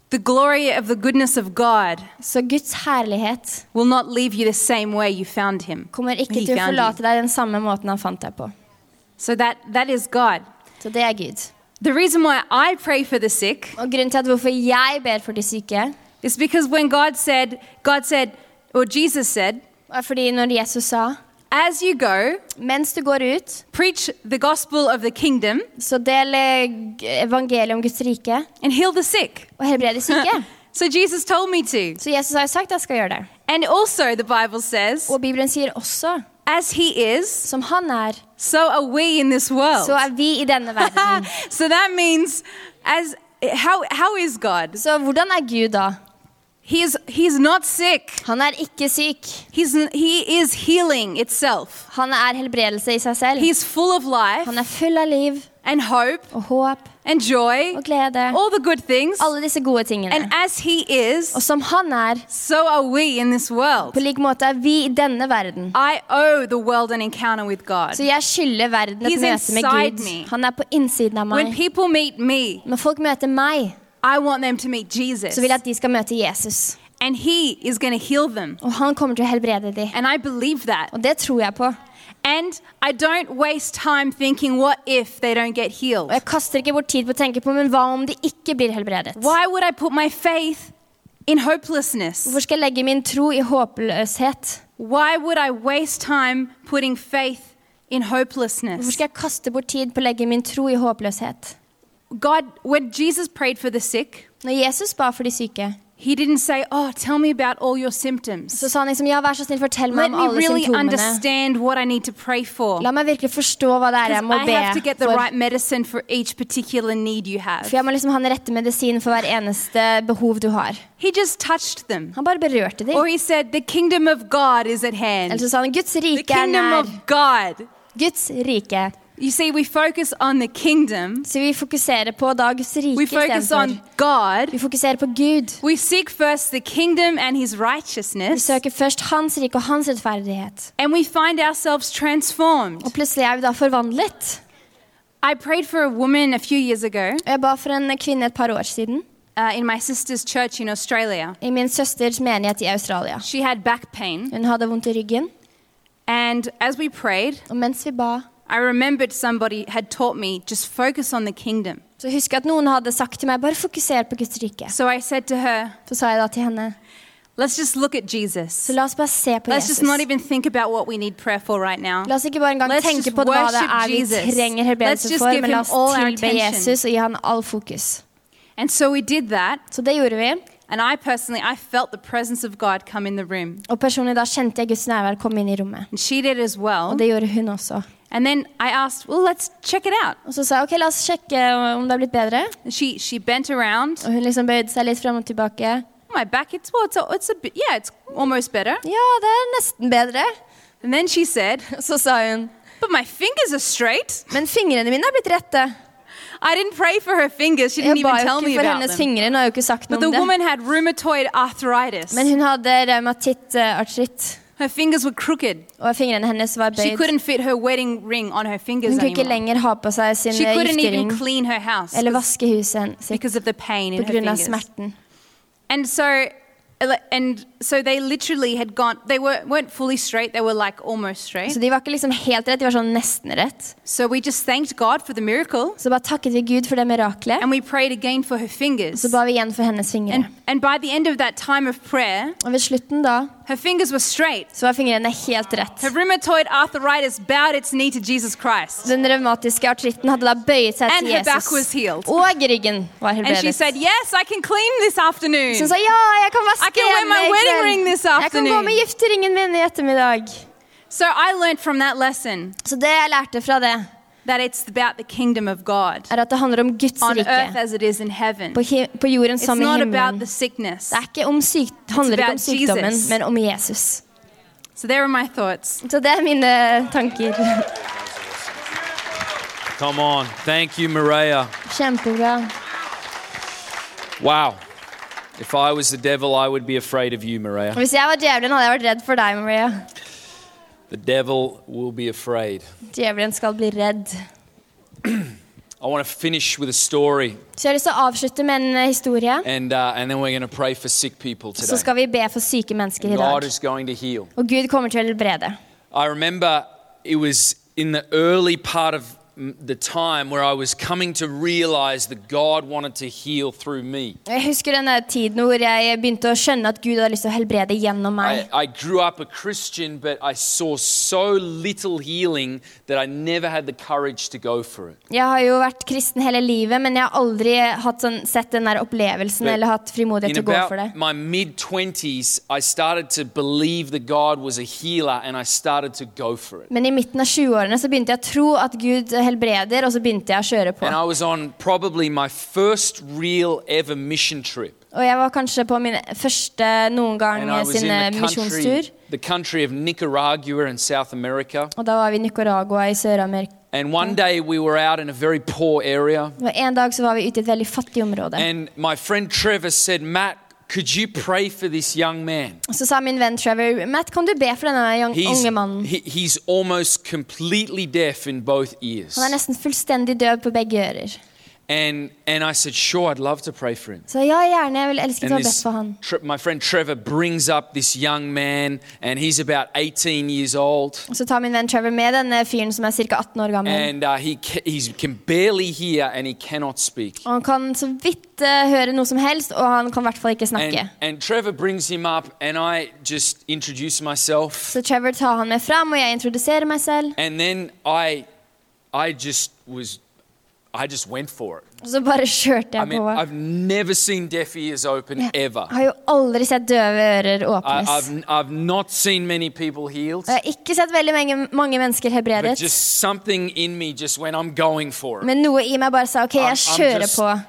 Speaker 3: The glory of the goodness of God
Speaker 2: Så Guds herlighet
Speaker 3: will not leave you the same way you found him.
Speaker 2: kommer ikke
Speaker 3: He
Speaker 2: til å
Speaker 3: found
Speaker 2: forlate
Speaker 3: you.
Speaker 2: deg den samme måten han fant deg på.
Speaker 3: So that, that is God.
Speaker 2: Så det er Gud.
Speaker 3: The reason why I pray for the sick
Speaker 2: Og grunnen til at hvorfor jeg ber for de syke,
Speaker 3: is because when God said, God said, or Jesus said,
Speaker 2: er fordi når Jesus sa
Speaker 3: as you go,
Speaker 2: mens du går ut,
Speaker 3: preach the gospel of the kingdom
Speaker 2: så del eh, evangeliet om Guds rike
Speaker 3: and heal the sick.
Speaker 2: og helbrede syke.
Speaker 3: so Jesus told me to.
Speaker 2: Så Jesus har jo sagt jeg skal gjøre det.
Speaker 3: And also, the Bible says,
Speaker 2: Og Bibelen sier også
Speaker 3: as he is,
Speaker 2: som han er,
Speaker 3: [laughs] so are we in this world. [laughs]
Speaker 2: så er vi i denne verden.
Speaker 3: so that means, as how, how is God?
Speaker 2: Så hvordan er Gud da?
Speaker 3: He's, he's not sick.
Speaker 2: Han er ikke syk.
Speaker 3: He's, n- he is healing itself.
Speaker 2: Han er helbredelse i seg selv.
Speaker 3: He's full of life
Speaker 2: Han er full av liv
Speaker 3: and hope
Speaker 2: og håp
Speaker 3: and joy,
Speaker 2: og glede.
Speaker 3: all the good things.
Speaker 2: Alle disse gode
Speaker 3: And
Speaker 2: tingene.
Speaker 3: as he is,
Speaker 2: Og som han er,
Speaker 3: so are we in this world.
Speaker 2: på lik måte er vi i denne verden.
Speaker 3: I owe the world an encounter with God.
Speaker 2: Så jeg skylder verden et
Speaker 3: He's
Speaker 2: møte med
Speaker 3: inside
Speaker 2: Gud.
Speaker 3: me.
Speaker 2: Han er på innsiden av
Speaker 3: When
Speaker 2: meg.
Speaker 3: people meet me,
Speaker 2: Når folk møter meg,
Speaker 3: I want them to meet Jesus.
Speaker 2: så vil jeg at de skal møte Jesus.
Speaker 3: And he is going to heal them.
Speaker 2: Og han kommer til å helbrede dem.
Speaker 3: And I believe that.
Speaker 2: Og det tror jeg på.
Speaker 3: And I don't waste time thinking, what if they don't get healed?
Speaker 2: Og jeg kaster ikke bort tid på å tenke på men hva om de ikke blir helbredet?
Speaker 3: Why would I put my faith in hopelessness?
Speaker 2: Hvorfor skal jeg legge min tro i håpløshet?
Speaker 3: Why would I waste time putting faith in
Speaker 2: Hvorfor
Speaker 3: hopelessness?
Speaker 2: skal jeg kaste bort tid på å legge min tro i håpløshet?
Speaker 3: God, when Jesus prayed for the sick,
Speaker 2: Når Jesus ba for de syke,
Speaker 3: he didn't say, Oh, tell me about all your
Speaker 2: så
Speaker 3: symptoms.
Speaker 2: sa han liksom ja, vær så snill, fortell
Speaker 3: Let
Speaker 2: meg om
Speaker 3: me
Speaker 2: alle
Speaker 3: really
Speaker 2: symptomene.
Speaker 3: understand what I need to pray for.
Speaker 2: La meg virkelig forstå hva det er jeg
Speaker 3: 'Cause
Speaker 2: må
Speaker 3: I
Speaker 2: be
Speaker 3: have to get the
Speaker 2: for.
Speaker 3: right medicine for each particular need you have.
Speaker 2: For jeg må liksom ha den rette medisinen for hver eneste behov du har.
Speaker 3: He just touched them.
Speaker 2: Han bare berørte dem.
Speaker 3: Or he said, The kingdom of God is at
Speaker 2: Eller
Speaker 3: hand.
Speaker 2: så sa han Guds
Speaker 3: The
Speaker 2: rike er
Speaker 3: kingdom
Speaker 2: nær.
Speaker 3: of God.
Speaker 2: Guds rike.
Speaker 3: You see, we focus on the kingdom,
Speaker 2: Så vi fokuserer på da Guds rike
Speaker 3: we focus
Speaker 2: istedenfor.
Speaker 3: on God.
Speaker 2: Vi fokuserer på Gud.
Speaker 3: We seek first the kingdom and his
Speaker 2: Vi
Speaker 3: righteousness,
Speaker 2: søker først Hans rike og Hans rettferdighet.
Speaker 3: and we find ourselves transformed.
Speaker 2: Og plutselig er vi da forvandlet.
Speaker 3: I prayed for a woman a few years ago
Speaker 2: Og jeg ba for en kvinne et par år siden
Speaker 3: uh, in my sister's church in Australia.
Speaker 2: i min søsters menighet i Australia.
Speaker 3: She had back pain,
Speaker 2: Hun hadde vondt i ryggen,
Speaker 3: and as we prayed,
Speaker 2: og mens vi ba,
Speaker 3: I remembered somebody had taught me just focus on the kingdom.
Speaker 2: så husker jeg at noen hadde sagt til meg bare fokuser på Guds rike.
Speaker 3: So I said to her,
Speaker 2: Så sa jeg da til henne
Speaker 3: Let's just look at
Speaker 2: så
Speaker 3: Jesus.
Speaker 2: la oss bare se på
Speaker 3: Let's
Speaker 2: Jesus.
Speaker 3: just not even think about what we need prayer for right now.
Speaker 2: La oss ikke bare engang
Speaker 3: Let's
Speaker 2: tenke
Speaker 3: just
Speaker 2: på hva det
Speaker 3: worship
Speaker 2: er vi
Speaker 3: Jesus.
Speaker 2: trenger
Speaker 3: Let's
Speaker 2: helbredelse
Speaker 3: just
Speaker 2: for,
Speaker 3: give
Speaker 2: men la
Speaker 3: him
Speaker 2: oss
Speaker 3: all our
Speaker 2: tilbe
Speaker 3: attention.
Speaker 2: Jesus og gi han all fokus.
Speaker 3: And so we did that,
Speaker 2: Så det gjorde vi.
Speaker 3: and I personally, I felt the presence of God come in the room.
Speaker 2: Og personlig da kjente jeg Guds nærvær komme inn i rommet.
Speaker 3: And she did as
Speaker 2: Og
Speaker 3: well.
Speaker 2: det gjorde hun også.
Speaker 3: And then I asked, Well, let's check it out.
Speaker 2: Og så sa jeg ok, la oss sjekke om det har blitt bedre.
Speaker 3: She she bent around. "Oh,
Speaker 2: Og hun liksom bøyde seg litt frem og tilbake.
Speaker 3: My back, it's well, it's a, it's a bit, yeah, it's almost better.
Speaker 2: Ja, det er nesten
Speaker 3: [laughs]
Speaker 2: bedre.
Speaker 3: And then she said,
Speaker 2: Og så sa hun
Speaker 3: but my fingers are straight.
Speaker 2: men fingrene mine er blitt rette.
Speaker 3: I didn't pray for her fingers. She didn't
Speaker 2: Jeg ba
Speaker 3: even
Speaker 2: jo
Speaker 3: tell
Speaker 2: ikke
Speaker 3: me
Speaker 2: for
Speaker 3: about
Speaker 2: hennes
Speaker 3: them.
Speaker 2: fingre. Nå har jeg jo ikke sagt
Speaker 3: But
Speaker 2: noe
Speaker 3: the
Speaker 2: om det.
Speaker 3: woman had rheumatoid arthritis.
Speaker 2: Men hun hadde revmatitt-artritt,
Speaker 3: Her fingers were crooked.
Speaker 2: og fingrene hennes var
Speaker 3: She
Speaker 2: bøyd.
Speaker 3: couldn't fit her wedding ring on her fingers
Speaker 2: Hun kunne ikke
Speaker 3: anymore.
Speaker 2: lenger ha på seg sin
Speaker 3: She couldn't even
Speaker 2: giftering
Speaker 3: clean her house
Speaker 2: eller vaske huset sitt
Speaker 3: because of the pain in her
Speaker 2: pga.
Speaker 3: fingers.
Speaker 2: smerten.
Speaker 3: And so and so they literally had gone they were, weren't fully straight they were like almost straight
Speaker 2: Så de var ikke liksom helt rett, de var sånn nesten rett.
Speaker 3: so we just thanked god for the miracle
Speaker 2: Så bare takket vi Gud for det miraklet,
Speaker 3: and we prayed again for her fingers
Speaker 2: så ba vi igjen for hennes fingre.
Speaker 3: And, and by the end of that time of prayer,
Speaker 2: Og ved slutten da,
Speaker 3: her fingers were straight.
Speaker 2: så var fingrene helt rett.
Speaker 3: Her rheumatoid arthritis bowed its knee to Jesus Christ.
Speaker 2: Den revmatiske artritten hadde da bøyet seg
Speaker 3: And
Speaker 2: til
Speaker 3: her back
Speaker 2: Jesus.
Speaker 3: was healed.
Speaker 2: Og ryggen var
Speaker 3: And she
Speaker 2: helbredet.
Speaker 3: said, Yes, I can clean this afternoon.
Speaker 2: Så hun sa ja, jeg kan vaske
Speaker 3: I can wear
Speaker 2: hjemme
Speaker 3: my
Speaker 2: i
Speaker 3: wedding
Speaker 2: kveld.
Speaker 3: ring this
Speaker 2: Jeg kan gå
Speaker 3: afternoon.
Speaker 2: med gifteringen min i ettermiddag.
Speaker 3: So I learned from that lesson
Speaker 2: Så det jeg lærte fra det,
Speaker 3: that it's about the kingdom of God
Speaker 2: er at det handler om Guds
Speaker 3: on earth
Speaker 2: rike.
Speaker 3: as it is in heaven.
Speaker 2: På, hi på jorden
Speaker 3: It's
Speaker 2: som i
Speaker 3: not about
Speaker 2: himmelen.
Speaker 3: the sickness.
Speaker 2: Det er ikke om syk handler ikke om
Speaker 3: about Jesus.
Speaker 2: sykdommen, men om Jesus.
Speaker 3: So there are my thoughts.
Speaker 2: Så det er mine
Speaker 3: [laughs]
Speaker 2: tanker.
Speaker 1: Come on. Thank you, Maria.
Speaker 2: Kjempebra.
Speaker 1: Wow. If I was the devil, I would be afraid of you, Maria.
Speaker 2: Hvis jeg var djevelen, hadde jeg vært redd for deg, Maria.
Speaker 1: The devil will be afraid.
Speaker 2: Djevelen skal bli redd.
Speaker 1: I want to finish with a story,
Speaker 2: Så jeg har lyst til å avslutte med en eh, historie.
Speaker 1: and, uh, and then we're going to pray for sick people
Speaker 2: Så
Speaker 1: today.
Speaker 2: skal vi be for syke mennesker i
Speaker 1: God
Speaker 2: dag.
Speaker 1: is going to heal.
Speaker 2: Og Gud kommer til å helbrede.
Speaker 1: I remember it was in the early part of mm, the time where I was coming to realize that God wanted to heal through me.
Speaker 2: Jeg husker den der tiden hvor jeg begynte å skjønne at Gud hadde lyst til å helbrede
Speaker 1: I,
Speaker 2: gjennom meg.
Speaker 1: I grew up a Christian, but I saw so little healing that I never had the courage to go for it.
Speaker 2: Jeg har jo vært kristen hele livet, men jeg har aldri hatt sånn, sett den der opplevelsen
Speaker 1: But
Speaker 2: eller hatt frimodighet
Speaker 1: In
Speaker 2: til å gå for
Speaker 1: about
Speaker 2: det.
Speaker 1: my mid 20s, I started to believe that God was a healer and I started to go for it.
Speaker 2: Men i midten av 20-årene så begynte jeg å tro at Gud helbreder, og så begynte jeg å kjøre på.
Speaker 1: And I was on probably my first real ever mission trip.
Speaker 2: Og jeg var kanskje på min første noen gang
Speaker 1: And I was in
Speaker 2: sin eh,
Speaker 1: the country,
Speaker 2: misjonstur.
Speaker 1: the country of Nicaragua in South America.
Speaker 2: Og da var vi i Nicaragua i Sør-Amerika.
Speaker 1: And one day we were out in a very poor area.
Speaker 2: Og En dag så var vi ute i et veldig fattig område.
Speaker 1: And my friend Trevor said, Matt, could you pray for this young man?
Speaker 2: Så sa min venn Trevor Matt, kan du be for denne young-
Speaker 1: He's,
Speaker 2: unge mannen?
Speaker 1: he- he's almost completely deaf in both ears.
Speaker 2: Han er nesten fullstendig døv på begge ører.
Speaker 1: And, and I said, Sure, I'd love to pray for him.
Speaker 2: Så ja, gjerne. Jeg vil elske
Speaker 1: And
Speaker 2: å ha bedt
Speaker 1: this,
Speaker 2: for han.
Speaker 1: tre- my friend Trevor brings up this young man, and he's about 18 years old.
Speaker 2: Og Så tar min venn Trevor med denne fyren som er ca. 18 år gammel.
Speaker 1: And uh, he, ca- he can barely hear and he cannot speak.
Speaker 2: Og han kan så vidt eh, høre noe som helst, og han kan i hvert fall ikke snakke.
Speaker 1: And, and Trevor brings him up, and I just introduce myself.
Speaker 2: Så Trevor tar han med fram, og jeg introduserer meg selv.
Speaker 1: And then I, I just was, I just went for it.
Speaker 2: Og så bare kjørte
Speaker 1: I
Speaker 2: jeg
Speaker 1: mean,
Speaker 2: på.
Speaker 1: I've never seen deaf ears open ever.
Speaker 2: Jeg har jo aldri sett døve ører
Speaker 1: I,
Speaker 2: åpnes.
Speaker 1: I've, I've not seen many people healed,
Speaker 2: Og jeg har ikke sett veldig mange, mange mennesker
Speaker 1: but
Speaker 2: helbredet.
Speaker 1: just something in me just went, I'm going for it.
Speaker 2: Men noe i meg bare sa OK,
Speaker 1: I'm-
Speaker 2: jeg
Speaker 1: I'm
Speaker 2: kjører
Speaker 1: just-
Speaker 2: på.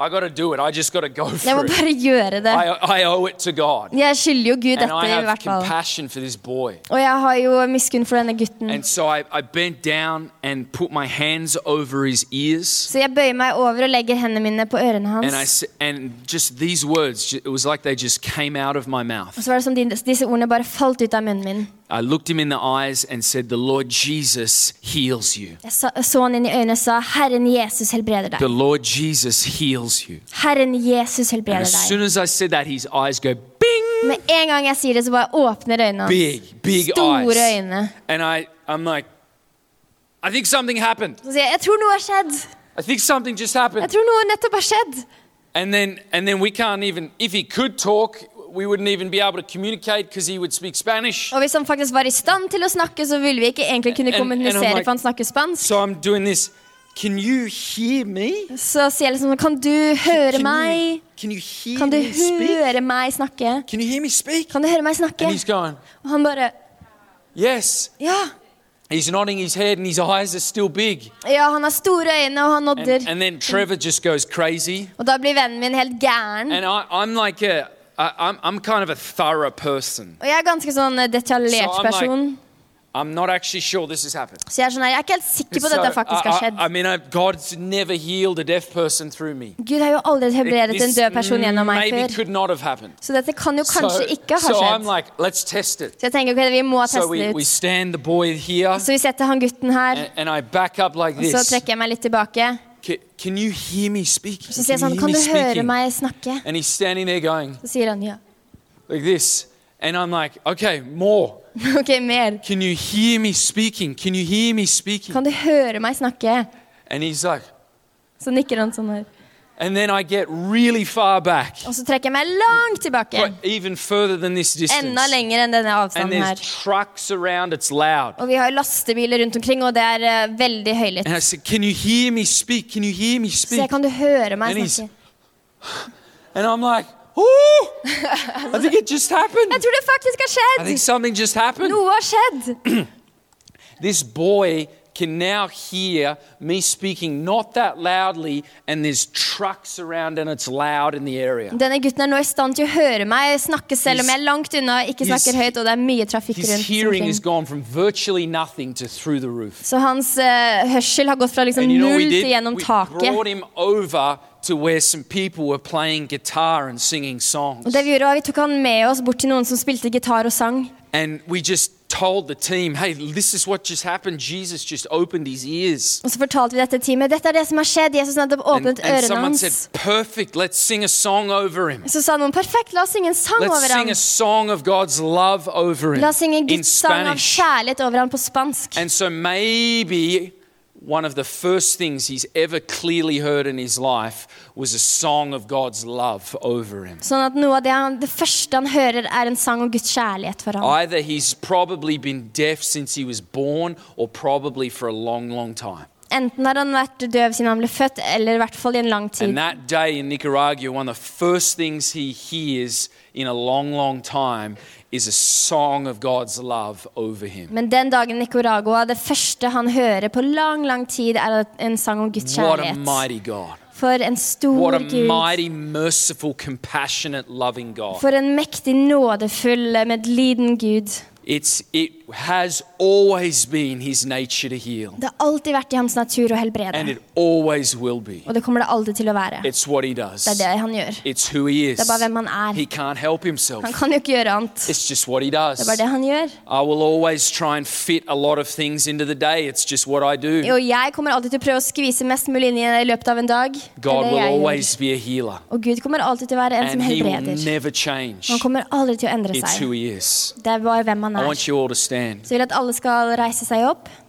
Speaker 1: I got to do it. I just got to go
Speaker 2: Jeg må
Speaker 1: for it.
Speaker 2: bare gjøre det.
Speaker 1: I, I owe it to God.
Speaker 2: Jeg skylder jo
Speaker 1: And I
Speaker 2: Gud dette, i
Speaker 1: have
Speaker 2: hvert fall.
Speaker 1: compassion for this boy.
Speaker 2: Og jeg har jo miskunn for denne gutten.
Speaker 1: And so I, I bent down and put my hands over his ears.
Speaker 2: Så jeg bøyer meg over og legger hendene mine på ørene
Speaker 1: And, I,
Speaker 2: hans.
Speaker 1: s- and just these words, ju- it was like they just came out of my mouth.
Speaker 2: Og så var det som de, disse ordene bare falt ut av munnen min.
Speaker 1: I looked him in the eyes and said, The Lord Jesus heals you.
Speaker 2: Jeg sa, så han inn i øynene og sa, 'Herren Jesus helbreder
Speaker 1: The
Speaker 2: deg'.
Speaker 1: Lord Jesus heals you.
Speaker 2: Herren Jesus
Speaker 1: And
Speaker 2: helbreder
Speaker 1: as soon
Speaker 2: deg.
Speaker 1: as I said that, his eyes go bing,
Speaker 2: Med en gang jeg sier det, så bare åpner øynene hans.
Speaker 1: big, big
Speaker 2: Store
Speaker 1: eyes.
Speaker 2: øyne.
Speaker 1: And I, I'm like, I think something happened.
Speaker 2: Så sier jeg 'Jeg tror noe har skjedd'.
Speaker 1: I think something just
Speaker 2: Jeg
Speaker 1: happened.
Speaker 2: tror noe nettopp har skjedd.
Speaker 1: And then, and then we can't even, if he could talk, we wouldn't even be able to communicate because he would speak Spanish.
Speaker 2: Og hvis han faktisk var i stand til å snakke, så ville vi ikke egentlig kunne
Speaker 1: And- and I'm
Speaker 2: kommunisere,
Speaker 1: like-
Speaker 2: for han snakker spansk.
Speaker 1: So I'm doing this. Can you hear me?
Speaker 2: Så sier jeg liksom 'Kan du høre
Speaker 1: Can you,
Speaker 2: meg?
Speaker 1: can you hear
Speaker 2: Kan du
Speaker 1: me speak?
Speaker 2: høre meg snakke?
Speaker 1: Can you hear me speak?
Speaker 2: Kan du høre meg
Speaker 1: And he's
Speaker 2: snakke?'
Speaker 1: going,
Speaker 2: Og han bare
Speaker 1: yes.
Speaker 2: Ja.
Speaker 1: He's nodding his head and his eyes are still big.
Speaker 2: Ja, han har store øyne, og han
Speaker 1: And,
Speaker 2: nodder.
Speaker 1: and then Trevor just goes crazy.
Speaker 2: Og da blir vennen min helt gæren.
Speaker 1: And I, I'm like a, I, I'm, I'm kind of a thorough person.
Speaker 2: Og jeg er ganske sånn eh, detaljert
Speaker 1: So I'm like-
Speaker 2: person.
Speaker 1: I'm not actually sure this has happened.
Speaker 2: Så jeg er sånn her, jeg er ikke helt sikker på at dette faktisk har
Speaker 1: I, I,
Speaker 2: skjedd.
Speaker 1: I mean, I, God's never healed a deaf person through me.
Speaker 2: Gud har jo aldri helbredet en
Speaker 1: This
Speaker 2: død person gjennom meg
Speaker 1: maybe
Speaker 2: før.
Speaker 1: could not have happened.
Speaker 2: Så dette kan jo kanskje
Speaker 1: so,
Speaker 2: ikke ha
Speaker 1: so I'm
Speaker 2: skjedd.
Speaker 1: like, let's test it.
Speaker 2: Så jeg tenker ok, vi må
Speaker 1: So
Speaker 2: teste
Speaker 1: we, Eh,
Speaker 2: det
Speaker 1: we
Speaker 2: ut.
Speaker 1: stand the boy here,
Speaker 2: Så vi setter han gutten her,
Speaker 1: and, and I back up like
Speaker 2: og så
Speaker 1: this.
Speaker 2: trekker jeg meg litt tilbake.
Speaker 1: Can, can you hear me speaking?
Speaker 2: Så sier jeg sånn,
Speaker 1: hear
Speaker 2: kan
Speaker 1: me
Speaker 2: du høre
Speaker 1: speaking?"
Speaker 2: meg snakke?
Speaker 1: And he's standing there going
Speaker 2: Så sier han ja. [laughs]
Speaker 1: like this, and I'm like, okay, more.
Speaker 2: Ok, mer.
Speaker 1: Can you hear me speaking? Can you hear me speaking?
Speaker 2: Kan du høre meg snakke?
Speaker 1: And he's like,
Speaker 2: Så nikker han sånn her.
Speaker 1: and then I get really far back,
Speaker 2: Og så trekker jeg meg langt tilbake.
Speaker 1: but even further than this
Speaker 2: Enda
Speaker 1: distance.
Speaker 2: lenger enn denne
Speaker 1: And
Speaker 2: avstanden
Speaker 1: there's
Speaker 2: her.
Speaker 1: trucks around. It's loud.
Speaker 2: Og vi har jo lastebiler rundt omkring, og det er eh, veldig høylytt.
Speaker 1: And I said, can you hear me speak? Can you hear me
Speaker 2: Så jeg
Speaker 1: speak?
Speaker 2: kan du høre meg
Speaker 1: And he's-
Speaker 2: snakke?
Speaker 1: And I'm like, oh, I think it just
Speaker 2: Jeg
Speaker 1: happened.
Speaker 2: tror det faktisk
Speaker 1: I
Speaker 2: har skjedd!
Speaker 1: think something just happened.
Speaker 2: Noe har skjedd!
Speaker 1: This boy can now hear me speaking not that loudly, and there's trucks around and it's loud in the area.
Speaker 2: Denne gutten er nå i stand til å høre meg snakke selv om jeg er langt unna, ikke
Speaker 1: His-
Speaker 2: snakker høyt, og det er mye trafikk
Speaker 1: His
Speaker 2: rundt
Speaker 1: hearing
Speaker 2: omkring.
Speaker 1: has gone from virtually nothing to through the roof.
Speaker 2: Så hans eh, hørsel har gått fra liksom
Speaker 1: And you know what
Speaker 2: null
Speaker 1: we did?
Speaker 2: til gjennom
Speaker 1: We brought
Speaker 2: taket.
Speaker 1: him over to where some people were playing guitar and singing
Speaker 2: Og
Speaker 1: songs.
Speaker 2: det vi gjorde var Vi tok han med oss bort til noen som spilte gitar og sang.
Speaker 1: And we just told the team, hey, this is what just happened. Jesus just opened his ears.
Speaker 2: Og så fortalte vi dette teamet. Dette er det som har skjedd. Jesus har nettopp
Speaker 1: And,
Speaker 2: åpnet
Speaker 1: and
Speaker 2: ørene
Speaker 1: someone
Speaker 2: hans.
Speaker 1: said, perfect, let's sing a song over him.
Speaker 2: Så sa noen perfekt, la oss synge en sang
Speaker 1: Let's
Speaker 2: over
Speaker 1: sing
Speaker 2: ham.
Speaker 1: a song of God's love over him
Speaker 2: La oss synge en
Speaker 1: in
Speaker 2: gudssang av
Speaker 1: Spanish.
Speaker 2: kjærlighet over ham på spansk.
Speaker 1: And so maybe one of the first things he's ever clearly heard in his life was a song of God's love over him.
Speaker 2: Sånn at noe av det, han, det første han hører, er en sang om Guds kjærlighet for ham.
Speaker 1: Either he's probably been deaf since he was born or probably for a long, long time.
Speaker 2: Enten har han vært døv siden han ble født, eller i hvert fall i en lang tid.
Speaker 1: And that day in Nicaragua, one of the first things he hears in a long, long time is a song of God's love over him.
Speaker 2: Men den dagen i Nicaragua, det første han hører på lang, lang tid, er en sang om Guds
Speaker 1: What a
Speaker 2: kjærlighet.
Speaker 1: mighty God.
Speaker 2: For en
Speaker 1: What
Speaker 2: stor
Speaker 1: a
Speaker 2: Gud.
Speaker 1: mighty, merciful, compassionate, loving God.
Speaker 2: For en mektig, nådefull, medliden Gud.
Speaker 1: It's, it has always been his nature to heal,
Speaker 2: Det har alltid vært i hans natur å
Speaker 1: and
Speaker 2: helbrede.
Speaker 1: it always will be.
Speaker 2: Og det kommer det alltid til å være.
Speaker 1: It's what he does,
Speaker 2: Det er det han gjør.
Speaker 1: it's who he
Speaker 2: Det
Speaker 1: is.
Speaker 2: er bare hvem han er.
Speaker 1: He can't help himself,
Speaker 2: Han kan jo ikke gjøre annet.
Speaker 1: it's just what he
Speaker 2: Det er
Speaker 1: does.
Speaker 2: bare det han gjør.
Speaker 1: I will always try and fit a lot of things into the day, it's just what I do.
Speaker 2: Og jeg kommer alltid til å prøve å skvise mest mulig inn i det i løpet av en dag. Det er
Speaker 1: God
Speaker 2: det
Speaker 1: will
Speaker 2: jeg gjør.
Speaker 1: always be a healer,
Speaker 2: Og Gud kommer alltid til å være en
Speaker 1: and
Speaker 2: som
Speaker 1: He will
Speaker 2: helbreder.
Speaker 1: never change.
Speaker 2: Og Han kommer aldri til å endre
Speaker 1: It's
Speaker 2: seg.
Speaker 1: who He is.
Speaker 2: Det er bare hvem han
Speaker 1: I
Speaker 2: er.
Speaker 1: want you all to stand.
Speaker 2: Så jeg vil at alle skal reise seg opp.